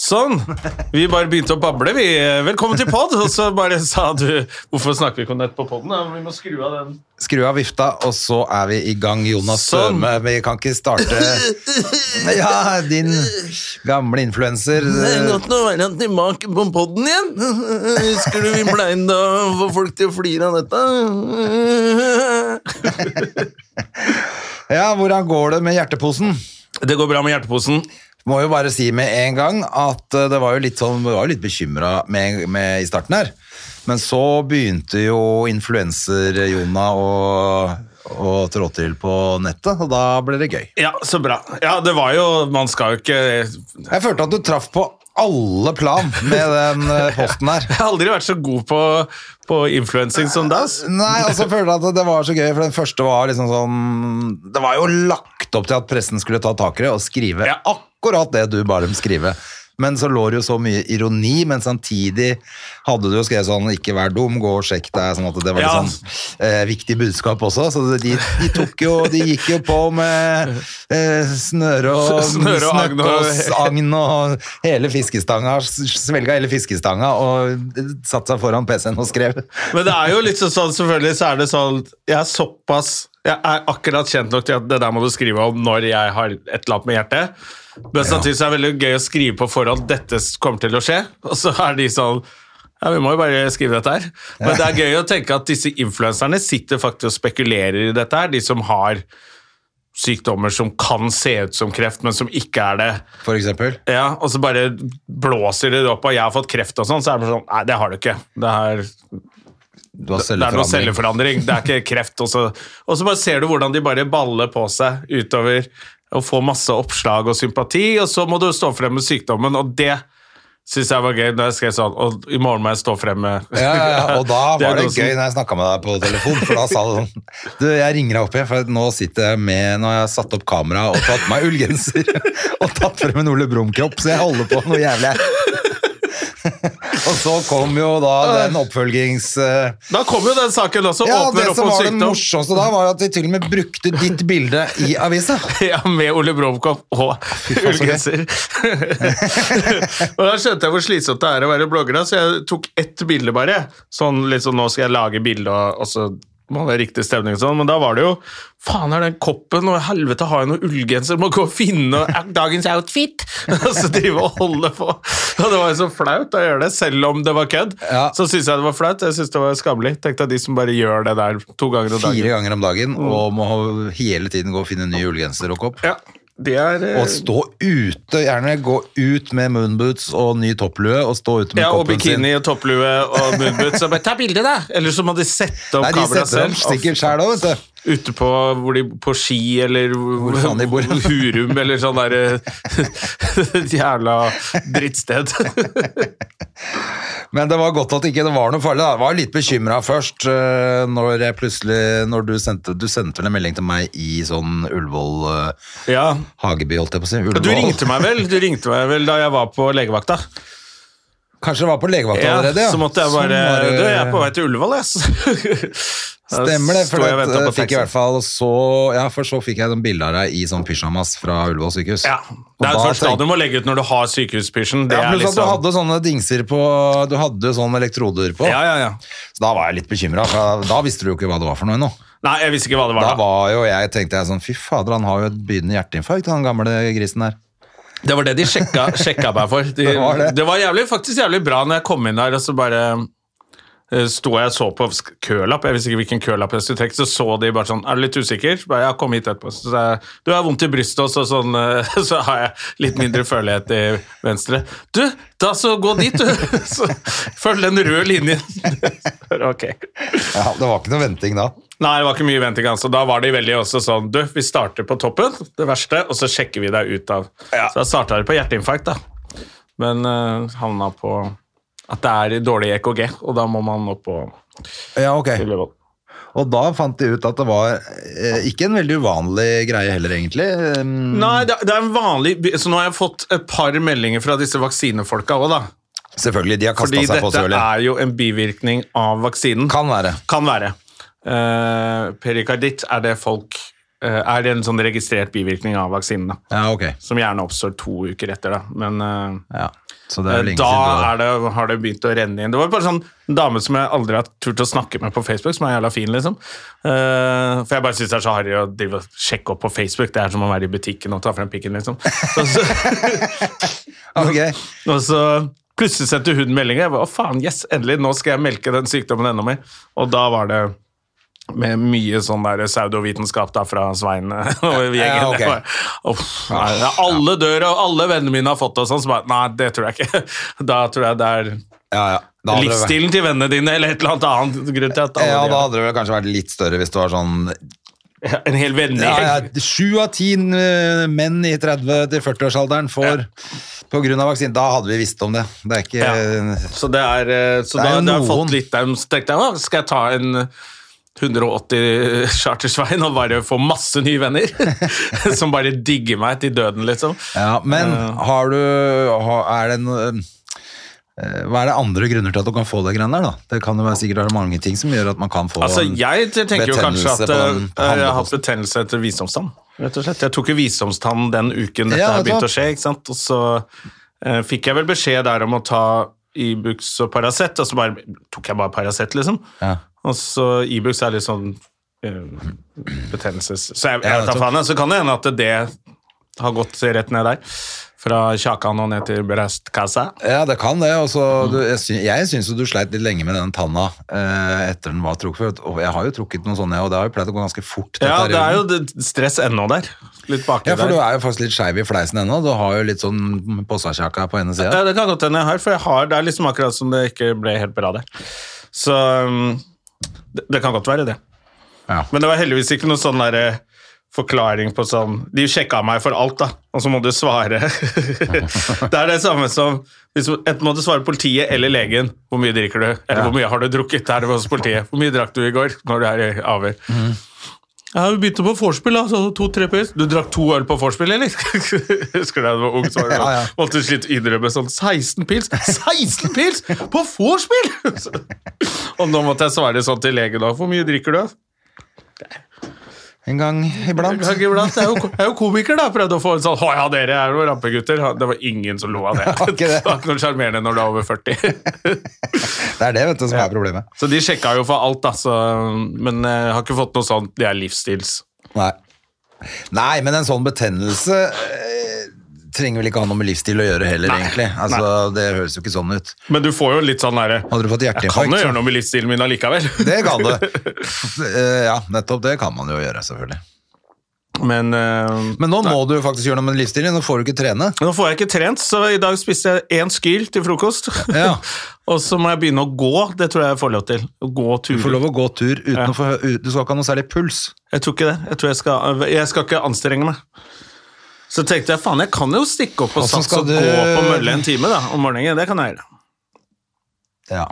Sånn. Vi bare begynte å bable, vi. Velkommen til pod! Og så bare sa du Hvorfor snakker vi ikke om nett på poden? Vi må skru av den. Skru av vifta, og så er vi i gang. Jonas Sånn. Støme, vi kan ikke starte Ja, din gamle influenser. Det er godt å være tilbake på podden igjen. Husker du vi pleide å få folk til å flire av dette? Ja, hvordan går det med hjerteposen? Det går bra med hjerteposen. Må jo bare si med en gang at eh, det var jo litt sånn, vi var jo litt bekymra med, med i starten her. Men så begynte jo influenser-Jona å, å trå til på nettet, og da ble det gøy. Ja, så bra. Ja, det var jo Man skal jo ikke Jeg Jeg følte at du traff på alle plan med den eh, posten her. har aldri vært så god på, på influensing som da. ass. Nei, og så føler jeg at det var så gøy, for den første var liksom sånn Det var jo lagt opp til at pressen skulle ta tak i det og skrive Ja. akkurat det du ba dem skrive. Men så lå det jo så mye ironi, men samtidig hadde du jo skrevet sånn 'ikke vær dum, gå og sjekk deg', sånn at det var litt Ja. sånn eh, viktig budskap også. Så de, de tok jo De gikk jo på med eh, snøre og Snøre og agn og- snøkkås, agn og hele fiskestanga. Svelga hele fiskestanga og satte seg foran PC-en og skrev. Men det er jo litt sånn- sånn, selvfølgelig så er det sånn Jeg er såpass Jeg er akkurat kjent nok til at det der må du skrive om når jeg har et eller annet med hjertet. Men samtidig så er det veldig gøy å skrive på forhånd dette kommer til å skje, og så er de sånn ja, Vi må jo bare skrive dette her. Men det er gøy å tenke at disse influenserne sitter faktisk og spekulerer i dette her, de som har sykdommer som kan se ut som kreft, men som ikke er det. for eksempel. Ja, og så bare blåser de det opp, og jeg har fått kreft og sånn, så er det bare sånn Nei, det har du ikke. Det er Du har det er noe celleforandring. celleforandring, det er ikke kreft. Og så, og så bare ser du hvordan de bare baller på seg utover og får masse oppslag og sympati, og så må du stå frem med sykdommen, og det syns jeg var gøy når jeg skrev sånn Og i morgen må jeg stå frem med Ja, ja, ja, og da var det diagnosen. gøy når jeg snakka med deg på telefon, for da sa du sånn Du, jeg ringer deg opp igjen, for nå sitter jeg med Nå har jeg satt opp kamera og tatt på meg ullgenser og tatt frem en Ole Brumm-kropp, så jeg holder på noe jævlig her. Og så kom jo da den oppfølgings... eh, Da kommer jo den saken også, Ja, det åpner opp som om var det sykdom. morsomste da, var jo at de til og med brukte ditt bilde i avisa. Ja, med Ole Bromkopp og faen, så gøy. ullgenser. og da skjønte jeg hvor slitsomt det er å være blogger, da, så jeg tok ett bilde bare. Sånn litt sånn, nå skal jeg lage bilde, og, og så må det være riktig stemning og sånn, men da var det jo Faen, er den koppen, og helvete har jeg noe ullgenser, må gå og finne og- dagens outfit! Og så drive og holde på. Og det var jo så flaut å gjøre det, selv om det var kødd. Ja. Så syns jeg det var flaut. Jeg syns det var skammelig. Tenk deg de som bare gjør det der to ganger om Fire dagen. Mm. ganger om dagen, og må hele tiden gå og finne ny ullgenser og kopp. Ja, det er eh, Og stå ute, gjerne gå ut med moonboots og ny topplue og stå ute med Ja, og koppen bikini sin. og topplue og moonboots. Så bare, Ta bilde, da! Eller så må de sette opp Nei, de kameraet setter dem selv. sikkert sjæl òg, vet du. og- Ute på, hvor de, på ski eller hvor faen de bor. Hurum eller sånn derre Jævla drittsted. Men det var godt at ikke det var noe farlig. da. Jeg var litt bekymra først eh, når jeg plutselig Når du sendte Du sendte vel en melding til meg i sånn Ullevål eh, ja. Hageby, holdt jeg på å si. Ullevål. Du ringte meg vel Du ringte meg vel da jeg var på legevakta? Kanskje det var på legevakta Ja, allerede, ja. Så måtte jeg Sånn bare var det. Du, jeg er på vei til Ullevål, jeg. Da Stemmer det, for sto jeg og at, ventet på eh, fikk i taxi. hvert fall så Ja, for så fikk jeg den bildet av deg i sånn pysjamas fra Ullevål sykehus. Ja. Og Det er da først da tenkte- du må legge ut når du har sykehuspysjen. Det Ja, er pluss at du liksom hadde sånne dingser på Du hadde jo sånne elektroder på. Ja, ja, ja. Så da var jeg litt bekymra. Da visste du jo ikke hva det var for noe ennå. Nei, jeg visste ikke hva det var Da da. var jo jeg, tenkte jeg sånn Fy fader, han har jo et begynnende hjerteinfarkt, han gamle grisen der. Det var det de sjekka, sjekka meg for. De, det Det var, var det. jævlig, faktisk jævlig bra når jeg kom inn der, og så bare eh, sto jeg og så på sk- kølapp. Jeg visste ikke hvilken kølapp jeg skulle trekke, så så de bare sånn Er du litt usikker? Så bare, ja, kom hit etterpå. Så sa jeg Du har vondt i brystet, og så, sånn, eh, så har jeg litt mindre følelighet i venstre. Du, da så gå dit, du! Så følg den røde linjen. ok. Ja, Det var ikke noe venting da. Nei, det var ikke mye venting. Altså. Da var de veldig også sånn Du, vi starter på toppen, det verste, og så sjekker vi deg ut av Så da starta de på hjerteinfarkt, da. men eh, havna på at det er dårlig EKG, og da må man opp på Ja, ok. Ullevål. Og da fant de ut at det var eh, ikke en veldig uvanlig greie heller, egentlig. Mm, Nei, det, det er en vanlig Så nå har jeg fått et par meldinger fra disse vaksinefolka òg, da. Selvfølgelig, de har Fordi kasta seg på dette selvfølgelig. er jo en bivirkning av vaksinen. Kan være. Kan være. Eh, perikarditt er det folk eh, Er det en sånn registrert bivirkning av vaksinene? Ja, ok. Som gjerne oppstår to uker etter, da. Men eh, Ja. Så det Eh, er lenge da siden. du har- er det, har det begynt å renne inn. Det var bare sånn en dame som jeg aldri har turt å snakke med på Facebook, som er jævla fin, liksom. Eh, for jeg bare syns det er så harry å drive og sjekke opp på Facebook. Det er som å være i butikken og ta frem pikken, liksom. Og så, Ok. og så plutselig sendte hun melding, og jeg var å faen, yes, endelig, nå skal jeg melke den sykdommen enda mer. Og da var det med mye sånn der pseudovitenskap da fra Svein eh, og gjengen. Ja, ok. Jeg bare, «Uff, nei, ja, alle dør, og alle vennene mine har fått det, og sånn. Så bare, nei, det tror jeg ikke. Da tror jeg det er Ja, ja. Da hadde det vært- livsstilen til vennene dine, eller et eller annet annet grunn til at alle Ja, da de er- hadde det vel kanskje vært litt større hvis det var sånn En hel vennegjeng. ja, ja, Sju av ti eh, menn i 30-40-årsalderen får på grunn av vaksinen. Da hadde vi visst om det. Det er ikke Ja. Så det er eh, Så Det er jo da da har jeg noen. fått litt dem, så tenkte jeg «Å, skal jeg ta en eh, 180 Chartersveien og bare få masse nye venner? som bare digger meg til døden, liksom. Ja, men har du har, Er det noe eh, hva er det andre grunner til at du kan få det greiene der? da? Det kan jo være sikkert være mange ting som gjør at man kan få Altså, en- jeg tenker jo kanskje betennelse at på eh, den jeg har hatt handleposten. betennelse etter visdomstann, rett og slett. Jeg tok jo visdomstann den uken dette Ja, her vet du begynte å skje, ikke sant. Og så eh, fikk jeg vel beskjed der om å ta Ibux og Paracet, og så bare tok jeg bare Paracet, liksom. Ja. Og så Ibux er litt sånn eh, betennelses... Så Ja, jeg, jeg vet da nettopp. faen, jeg. så kan det hende at det har gått rett ned der. Fra Kjakan og ned til brystkassa. Ja, det kan det. og så Mm. du, jeg, sy jeg syns jo du sleit litt lenge med den tanna eh, etter den var trukket. Og jeg har jo trukket noen sånne, og det har jo pleid å gå ganske fort. den Ja, det er jo perioden. det- stress ennå der. Litt baki ja, for der. du er jo faktisk litt skeiv i fleisen ennå. Du har jo litt sånn Possakjaka på ene sida. Ja, det kan godt hende jeg har, for jeg har, det er liksom akkurat som det ikke ble helt bra der. Så um, det, det kan godt være det. Ja. Men det var heldigvis ikke noen sånn der eh, forklaring på sånn De sjekka meg for alt, da, og så må du svare. det er det samme som hvis du- Enten må du svare politiet eller legen. Hvor mye drikker du? Eller hvor mye har du drukket? Det er det hos politiet. Hvor mye drakk du i går? Når du er i avhør. Mhm. Ja, vi begynte på vorspiel, da. Så to-tre pils. Du drakk to øl på vorspiel, eller? Husker du da du var ung? Så var det, Ja, ja. Måtte til slutt innrømme sånn 16 pils! 16 pils på vorspiel! Så- og nå måtte jeg svare sånn til legen da. Hvor mye drikker du? En gang iblant. Jeg er jo- jeg er jo, jeg er jo komiker, da. Prøvde å få en sånn Å ja, dere er jo rampegutter. Det var ingen som lo av det. Var ikke det? Det var ikke noe sjarmerende når du er over 40. Det er det vet du, som er problemet. Så de sjekka jo for alt, da. Så, men eh, jeg har ikke fått noe sånt. Det er livsstils. Nei. Nei, men en sånn betennelse eh, trenger vel ikke ha noe med livsstil å gjøre heller, egentlig. Altså, Det høres jo ikke sånn ut. Men du får jo litt sånn derre Hadde du fått Jeg kan jo hjerteinfarkt? gjøre så- noe med livsstilen min allikevel. Det kan du. Eh, ja, nettopp. Det kan man jo gjøre, selvfølgelig. Men eh, Men nå må du faktisk gjøre noe med livsstilen. Nå får du ikke trene. nå får jeg ikke trent, så i dag spiste jeg én skyr til frokost. Ja. og så må jeg begynne å gå. Det tror jeg jeg får lov til. Å gå Du får turer. lov å gå tur uten å få hø- Du skal ikke ha noe særlig puls. Jeg tror ikke det. Jeg, tror jeg, skal, jeg skal ikke anstrenge meg. Så tenkte jeg faen, jeg kan jo stikke opp og Hvordan satse skal og du- gå på mølle en time da, om morgenen. Det kan jeg gjøre. Ja.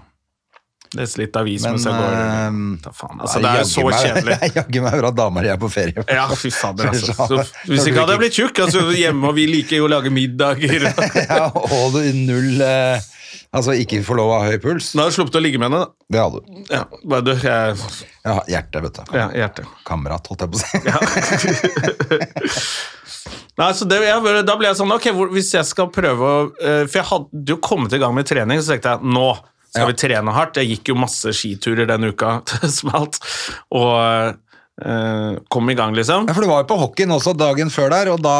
Lese litt avis Men mens jeg går. eh, Ta faen, altså, det er jo så jaggu meg- kjedelig. Det er jaggu meg bra damer jeg er på ferie. Ja, fy fader, altså. Ellers hadde- Så, hvis ikke hadde jeg blitt tjukk. Altså, hjemme, og vi liker jo å lage middager. ja, og du null eh, Altså ikke få lov å ha høy puls. Da hadde jeg sluppet å ligge med henne, da. Det hadde du. Ja, bare du, jeg, Ja, hjerte, vet du. ja, hjertet. Kamerat, holdt jeg på å si. Nei, så det, jeg, bare- da ble jeg sånn, ok, hvor, hvis jeg skal prøve å, eh, for jeg hadde jo kommet i gang med trening, så tenkte jeg, nå skal Ja. vi trene hardt. Jeg gikk jo masse skiturer den uka, som alt, og eh, kom i gang liksom. Ja, for du var jo på hockeyen også dagen før der, og da,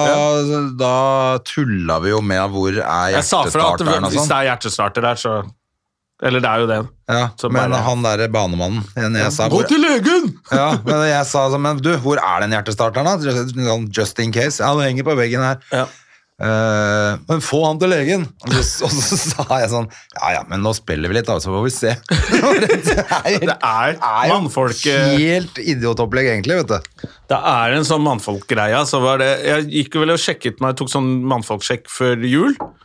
da tulla vi jo med hvor er Jeg sa fra at hjertestarteren og hvis sånn. det er hjertestarter der, så, eller det er jo det. Ja, så men bare- han derre banemannen jeg, jeg sa, Gå hvor, til legen! ja, men jeg sa sånn, men du, hvor er den hjertestarteren da? Just- sånn, Just in case. Ja, den henger på veggen her. Ja. Eh, men få han til legen! Og så, og så sa jeg sånn Ja ja, men nå spiller vi litt, da, så får vi se. det er, jo- Det er eh, jo mannfolket- Helt idiotopplegg, egentlig, vet du. Det er en sånn mannfolkgreie. Så var det, jeg gikk jo vel og sjekket meg, tok sånn mannfolksjekk før jul. For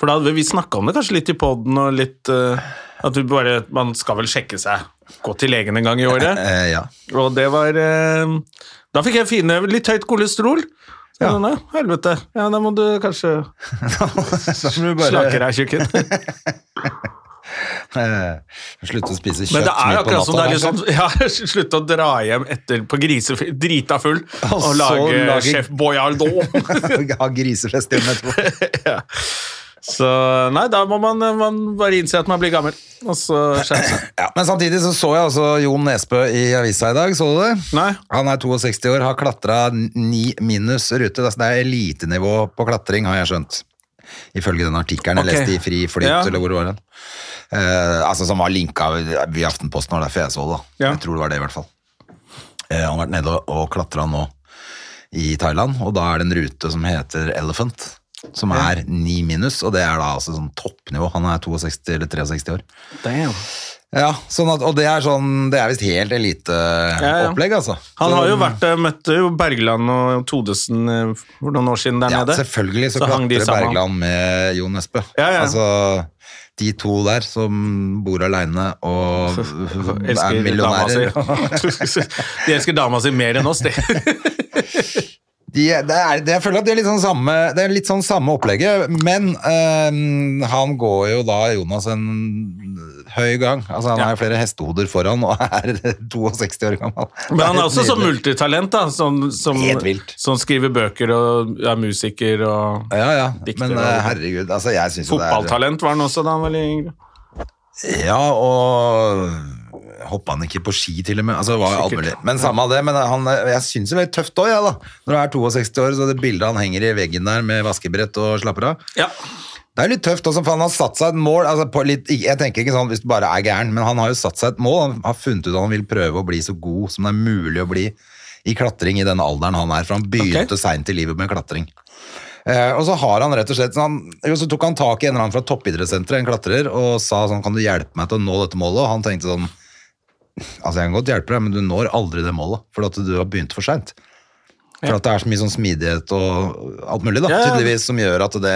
For da hadde vi- vi snakka om det kanskje litt i poden, og litt eh, At du bare Man skal vel sjekke seg. Gå til legen en gang i året. Eh, ja. Og det var eh, Da fikk jeg fine Litt høyt kolesterol. Ja. Ja. helvete. Ja, da må du kanskje Da må du slake bare deg, tjukken. eh, slutte å spise kjøtt Men det er midt jo på akkurat som det natta, er litt sånn kanskje. ja, Slutt å dra hjem etter på grisefri, drita full, og, så lage, lage- Chef Boyardon. Ha grisefest hjemme etterpå. ja. Så nei, da må man, man bare innse at man blir gammel, og så skjerpe seg. Ja, men samtidig så så jeg altså Jon Nesbø i avisa i dag, så du det? Nei. Han er 62 år, har klatra ni minus rute. Altså det er elitenivå på klatring, har jeg skjønt. Ifølge den artikkelen Ok. jeg leste i Fri Flyt, Ja. eller hvor var den? Eh, altså Som var linka i Aftenposten, var derfor jeg så det. da. Ja. Jeg tror det var det, i hvert fall. Eh, han har vært nede og- og klatra nå i Thailand, og da er det en rute som heter Elephant. Som er ni minus, og det er da altså sånn toppnivå. Han er 62 eller 63 år. Ja, sånn at, og det er sånn Det er visst helt ja. eliteopplegg, altså. Han har jo Så- vært, eh, møtte jo Bergland og Todesen eh, for noen år siden der ja, nede. Selvfølgelig så, Så hang de klatrer sammen. Bergland med Jon Nesbø. Ja, ja. Altså, de to der som bor aleine og er Elsker dama millionærer. si. De elsker dama si mer enn oss, de. De, det er, det, jeg føler at det er litt sånn samme, det er litt sånn samme opplegget, men øhm, han går jo da, Jonas, en høy gang. Altså, han Ja. har jo flere hestehoder foran og er 62 år gammel. Men han er også sånn Nydelig. multitalent, da. Som, som, Helt vilt. som skriver bøker og er musiker og Ja, ja, Dikter men og- øh, herregud, altså jeg synes jo det er... Fotballtalent var han også da han var litt yngre. Ja, og hoppa han ikke på ski til og med? Altså, det var jo alt Sikkert. mulig. Men samme av det, men han, jeg syns det er litt tøft òg, jeg, da. Når du er 62 år, så det bildet han henger i veggen der med vaskebrett og slapper av. Ja. Det er litt tøft også, for han har satt seg et mål. Altså, på litt, jeg tenker ikke sånn hvis du bare er gæren, men han har jo satt seg et mål. Han har funnet ut at han vil prøve å bli så god som det er mulig å bli i klatring i den alderen han er, for han begynte Ok. seint i livet med klatring. Eh, og så har han rett og slett så han, jo, så tok han tak i en eller annen fra toppidrettssenteret, en klatrer, og sa sånn, kan du hjelpe meg til å nå dette målet? Og han tenkte sånn, altså jeg kan godt hjelpe deg, men du når aldri det målet, for at du har begynt for sent. For at det er så mye sånn smidighet og alt mulig, da, Ja, ja. tydeligvis, som gjør at det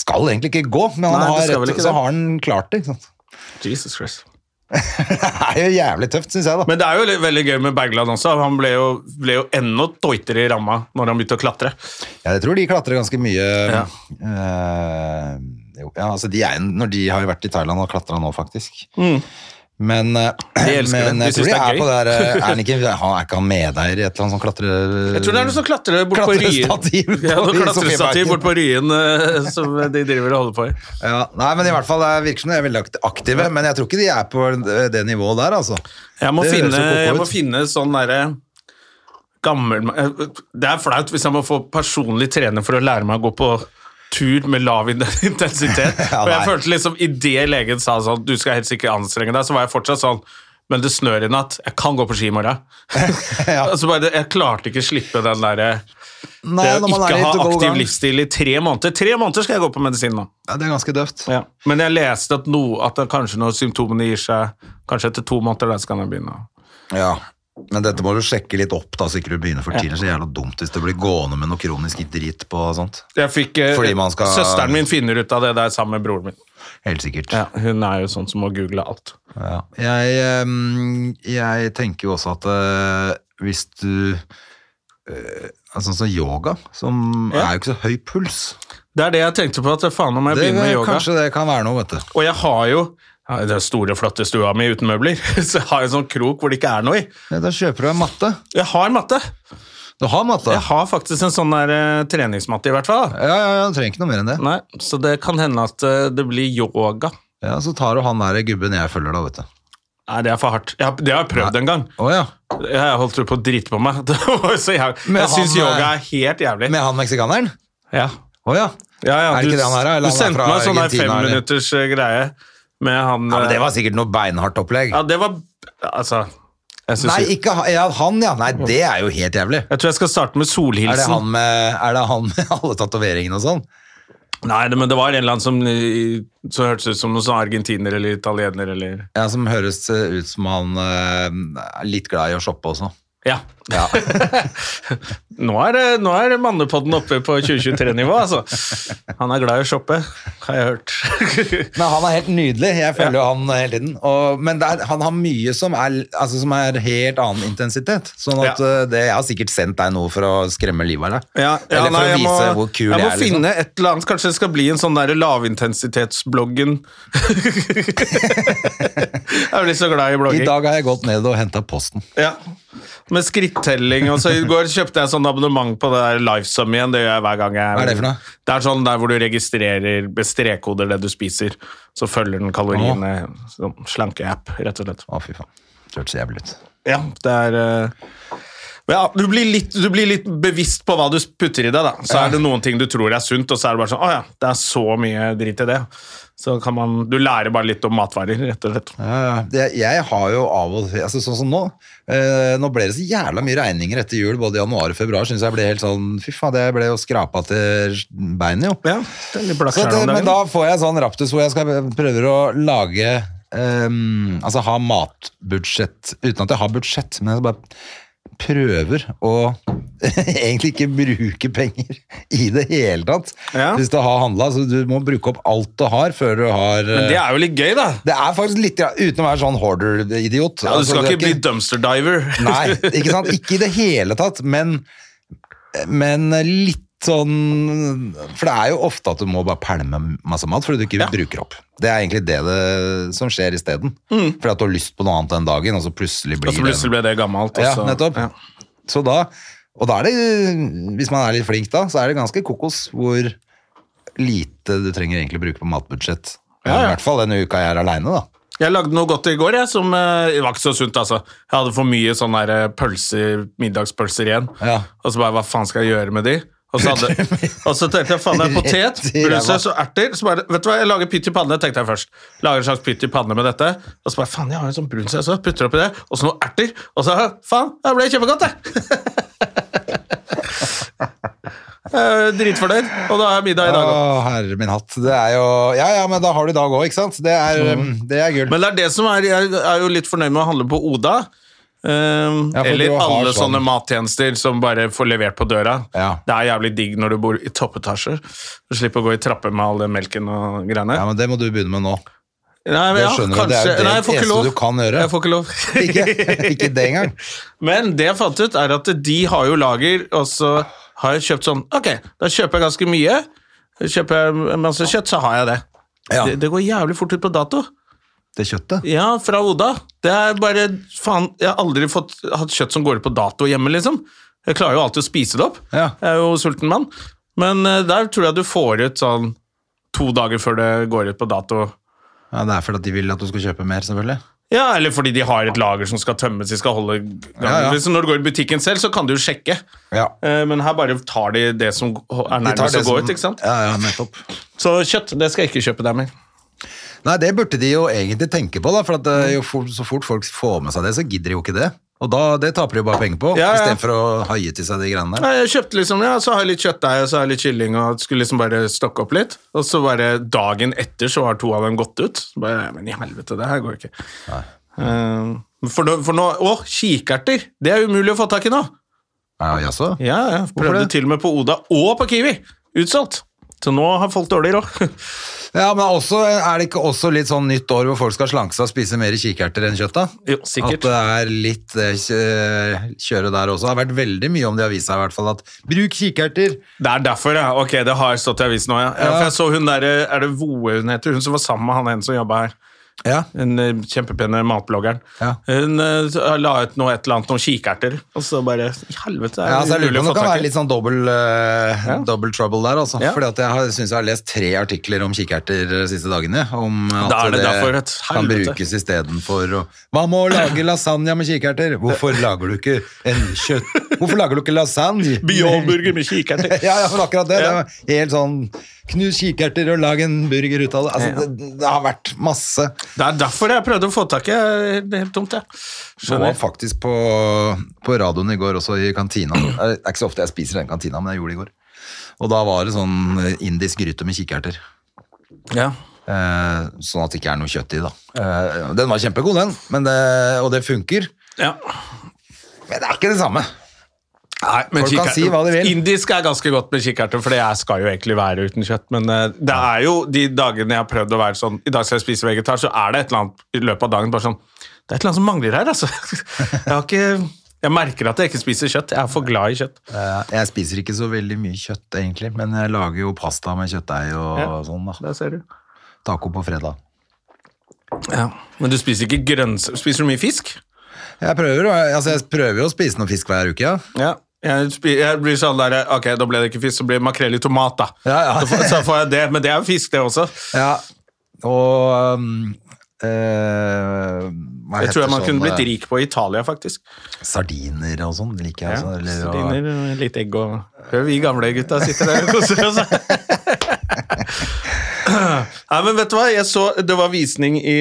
skal egentlig ikke gå, men han Nei, det har, skal vel rett, ikke så det. har han klart det. Ikke sant? Jesus Christ. Det er jo jævlig tøft, synes jeg da. Men det er jo litt- veldig gøy med Bergland også. Han ble jo, ble jo enda tøytere i ramma når han begynte å klatre. Ja, jeg tror de klatrer ganske mye. Ja. eh, jo, ja, altså de, er, når de har jo vært i Thailand og klatra nå, faktisk. Men, eh, Mm. De elsker det. men De jeg synes tror de det er, er gøy. på det der eh, Er han ikke, han er ikke han medeier i et eller annet sånt klatre... Jeg tror det er sånn noen som klatrer bort på Ryen. Klatrestativ på- Ja, noe i klatrestativ Sofiemarken. bort på Ryen eh, som de driver og holder på i. ja, Nei, men i hvert fall det virker som de er veldig akt- aktive, men jeg tror ikke de er på det- det nivået der, altså. Jeg må, Det høres jo finne, koko jeg ut. må finne sånn derre gammel eh, Det er flaut hvis jeg må få personlig trener for å lære meg å gå på tur med lav intensitet. Ja, Og jeg nei. følte liksom Idet legen sa sånn Du skal helst ikke anstrenge deg, så var jeg fortsatt sånn men det snør i natt. Jeg kan gå på ski i morgen. Ja. altså bare, jeg klarte ikke slippe den derre Nei, Det å når man er i ikke ha to-go gang. aktiv livsstil i tre måneder. Tre måneder skal jeg gå på medisin nå. Ja, det er ganske døvt. Ja. Men jeg leste at, no, at det kanskje når symptomene gir seg, kanskje etter to måneder, da skal jeg begynne. å- Ja. Men dette må du sjekke litt opp, da, så ikke du begynner for tidlig. Så er det jævla dumt hvis du blir gående med noe kronisk drit på sånt. Jeg fikk, eh, Fordi man skal- Søsteren min finner ut av det der sammen med broren min. Helt sikkert. Hun er jo sånn som må google alt. Ja. Jeg, ehm, jeg tenker jo også at eh, hvis du eh, Altså sånn som yoga, som Ja. er jo ikke så høy puls. Det er det jeg tenkte på, at faen om jeg Det, begynner med yoga. kanskje det kan være noe, vet du. Og jeg har jo ja, den store, flotte stua mi uten møbler, så jeg har en sånn krok hvor det ikke er noe i. Ja, da kjøper du en matte. Jeg har matte. Du har matte? Jeg har faktisk en sånn der eh, treningsmatte, i hvert fall. da. Ja, ja, ja, du trenger ikke noe mer enn det. Nei, så det kan hende at eh, det blir yoga. Ja, Så tar du han der gubben jeg følger, da, vet du. Nei, det er for hardt. Jeg har, det har jeg prøvd en gang. Å ja. Jeg holdt jo på å drite på meg. Det var så jævlig. Men Jeg syns han, eh, yoga er helt jævlig. Med han meksikaneren? Ja. Å ja. Ja, ja, Er det du, ikke det han er, da? Eller han du er sendte fra meg en sånn der Argentina, eller? femminutters eh, greie med han ja men det eh, var sikkert noe beinhardt opplegg. Ja, det var Altså jeg, synes Nei, jeg, ikke han, ja, han, ja. Nei, det er jo helt jævlig. jeg tror jeg skal starte med Er det solhilsen. han med, er det han med alle tatoveringene og sånn? Nei, det, men det var en eller annen som eh, Så hørtes ut som noen sånn argentiner eller italiener eller Ja, som høres eh, ut som han eh, er litt glad i å shoppe også. Ja. Ja. Nå er, det- nå er mannepodden oppe på 2023-nivå, altså. Han er glad i å shoppe, har jeg hørt. Men han er helt nydelig. Jeg følger jo han eh, hele tiden. Og, men det er, han har mye som er, altså, som er helt annen intensitet. Sånn at Ja. eh, det, Jeg har sikkert sendt deg noe for å skremme livet av deg. Ja, Eller ja, for nei, å jeg vise må- hvor kul jeg, jeg må er. Liksom. finne et eller annet. Kanskje det skal bli en sånn der lavintensitetsbloggen. jeg blir så glad i blogging. I dag har jeg gått ned og henta posten. Ja. Med skrittelling. Og så I går kjøpte jeg sånn abonnement på det der Lifesum igjen. Det gjør jeg hver gang jeg Hva er det for noe? Det er sånn der hvor du registrerer med strekkoder det du spiser. Så følger den kaloriene. Sånn Slankeapp, rett og slett. Å, fy faen. Det hørtes jævlig ut. Ja, det er eh, ja, du, blir litt, du blir litt bevisst på hva du putter i deg. da. Så er det noen ting du tror er sunt, og så er det bare sånn Å ja, det er så mye dritt i det. Så kan man Du lærer bare litt om matvarer, rett og slett. Ja, ja. Det- Jeg har jo av og til altså, Sånn som nå. eh, nå ble det så jævla mye regninger etter jul, både i januar og februar. Synes jeg ble helt sånn Fy faen, jeg ble jo skrapa til beinet, jo. Ja, det er litt Så blakkskjær det, om men dagen. da får jeg sånn raptus hvor jeg skal prøver å lage ehm, Altså ha matbudsjett uten at jeg har budsjett, men jeg bare prøver å egentlig ikke bruke penger i det hele tatt. Ja. Hvis du har handla, så du må bruke opp alt du har før du har Men det eh, er jo litt gøy, da. det er faktisk litt ja, Uten å være sånn hoarder-idiot. Ja, Du Altså, skal det er ikke bli dumpster diver. Nei, ikke sant? Ikke i det hele tatt, men, men litt sånn For det er jo ofte at du må bare pælme masse mat fordi du ikke Ja. bruker opp. Det er egentlig det, det som skjer isteden. Fordi at du har lyst på noe annet den dagen, og så plutselig blir Mm. Og så plutselig ble det gammelt. og Ja, så- nettopp. Ja. Så da, og da er det, hvis man er litt flink da, så er det ganske kokos hvor lite du trenger egentlig å bruke på matbudsjett. Ja, ja. I hvert fall denne uka jeg er aleine, da. Jeg lagde noe godt i går, jeg, som eh, det var ikke så sunt. altså. Jeg hadde for mye sånne der, eh, pølser, middagspølser igjen. Ja. Og så bare, hva faen skal jeg gjøre med de? Og så, hadde, og så tenkte jeg, faen, det er potet, Rett i ræva. brunsaus og erter. Så bare, vet du hva, jeg lager pytt i panne, tenkte jeg først. Lager en slags pytt i panne med dette. Og så bare, faen, jeg har en sånn brunsaus, også, putter oppi det. Og så noen erter. Og så, faen, det ble kjempegodt, det. Jeg er Eh, Dritfornøyd. Og da er middag i dag også. Å, herre min hatt. Det er jo Ja, ja, men da har du dag òg, ikke sant? Det er, um, det er gull. Men det er det som er Jeg er jo litt fornøyd med å handle på Oda. ehm, Ja, for eller du har alle sånn- sånne mattjenester som bare får levert på døra. Ja. Det er jævlig digg når du bor i toppetasjer. Du slipper å gå i trapper med all den melken og greiene. ja, men det må du begynne med nå. nei, men det ja, skjønner du, kanskje, det er jo det nei, jeg får ikke eneste lov. du kan gjøre. Jeg får ikke lov. Ikke, ikke det engang. Men det jeg fant ut, er at de har jo lager, og så har jeg kjøpt sånn Ok, da kjøper jeg ganske mye. Kjøper jeg masse kjøtt, så har jeg det. Ja. Det, det går jævlig fort ut på dato. Det kjøttet. Ja, fra Oda. Det er bare Faen, jeg har aldri fått, hatt kjøtt som går ut på dato hjemme, liksom. Jeg klarer jo alltid å spise det opp. Ja. Jeg er jo sulten mann. Men eh, der tror jeg du får ut sånn to dager før det går ut på dato. Ja, Det er fordi at de vil at du skal kjøpe mer, selvfølgelig. Ja, eller fordi de har et lager som skal tømmes, de skal holde gangen. Ja, ja. Liksom, Når du går i butikken selv, så kan du jo sjekke. Ja. Eh, Men her bare tar de det som er De tar nærmest det å gå som- ut, ikke sant? Ja, ja, nettopp. Så kjøtt, det skal jeg ikke kjøpe der mer. Nei, det burde de jo egentlig tenke på, da. For at eh, jo fort, så fort folk får med seg det, så gidder de jo ikke det. Og da, det taper de jo bare penger på, Ja, ja. istedenfor å haie til seg de greiene der. Nei, jeg kjøpte liksom, ja, så har jeg litt kjøttdeig, og så har jeg litt kylling, og skulle liksom bare stokke opp litt. Og så bare dagen etter så har to av dem gått ut. Så bare, ja, men i helvete, det her går ikke. Eh, for, nå- for nå, å, kikerter! Det er umulig å få tak i nå. Ja, jaså? Ja, jeg prøvde det? til og med på Oda og på Kiwi. Utsolgt. Så nå har folk dårlig råd. Ja, men også, er det ikke også litt sånn nytt år hvor folk skal slanke seg og spise mer kikerter enn kjøtt, da? Jo, At sikkert. det er litt eh, kjø- kjøre der også. Det har vært veldig mye om det i avisa i hvert fall, at bruk kikerter. Det er derfor, ja. Ok, det har stått i avisen nå, ja. ja. For jeg så hun der, eh, er det Voe hun heter? Hun som var sammen med han en som jobba her. Ja. Den eh, kjempepene matbloggeren. Ja. Hun eh, la ut noe, et eller annet om kikerter, og så bare I helvete, er Ja, så jeg det lurer på umulig om det å få kan tak være i? litt sånn double, eh, Ja. double trouble der, altså. Ja. Fordi at jeg har- synes jeg har lest tre artikler om kikerter de siste dagene, om at Da er det det, derfor et kan helvete. brukes i stedet for å... Man må lage lasagne med kikerter. Hvorfor lager du ikke en kjøtt... Hvorfor lager du ikke lasagne? Bionburger med kikerter. sånn- Ja, ja, for akkurat det. Det var helt sånn Knus kikerter og lag en burger ut av det. Altså, det, det har vært masse. Det er derfor jeg prøvde å få tak i eh, Det er helt tomt, jeg. Jeg var Skjønner. faktisk på, på radioen i går også, i kantina. Det er ikke så ofte jeg spiser i den kantina, men jeg gjorde det i går. Og da var det sånn indisk gryte med kikerter. Ja. Eh, sånn at det ikke er noe kjøtt i, da. Eh, den var kjempegod, den. Men det, og det funker. ja. Men det er ikke det samme. Nei, men Folk kan kikker- si hva de vil. Indisk er ganske godt med kikkerter, for jeg skal jo egentlig være uten kjøtt. Men eh, det er jo de dagene jeg har prøvd å være sånn I dag skal jeg spise vegetar, så er det et eller annet i løpet av dagen bare sånn Det er et eller annet som mangler her, altså. Jeg har ikke Jeg merker at jeg ikke spiser kjøtt. Jeg er for glad i kjøtt. Eh, Jeg spiser ikke så veldig mye kjøtt, egentlig, men jeg lager jo pasta med kjøttdeig og Ja. sånn. da. Der ser du. Taco på fredag. Ja. Men du spiser ikke grønnsaker Spiser du mye fisk? Jeg prøver, å- altså jeg prøver jo å spise noe fisk hver uke, ja. Ja. Jeg, spi- jeg blir sånn der Ok, da ble det ikke fisk, så blir det makrell i tomat, da. Ja, ja. Så, får, så får jeg det. Men det er jo fisk, det også. ja. Og um, eh, hva Jeg tror jeg man kunne blitt eh, rik på i Italia, faktisk. Sardiner og sånn liker jeg. Ja, altså, eller, og- Sardiner, litt egg og Hør, vi gamle gutta sitter der og koser oss. Nei, men vet du hva? Jeg så, det var visning i,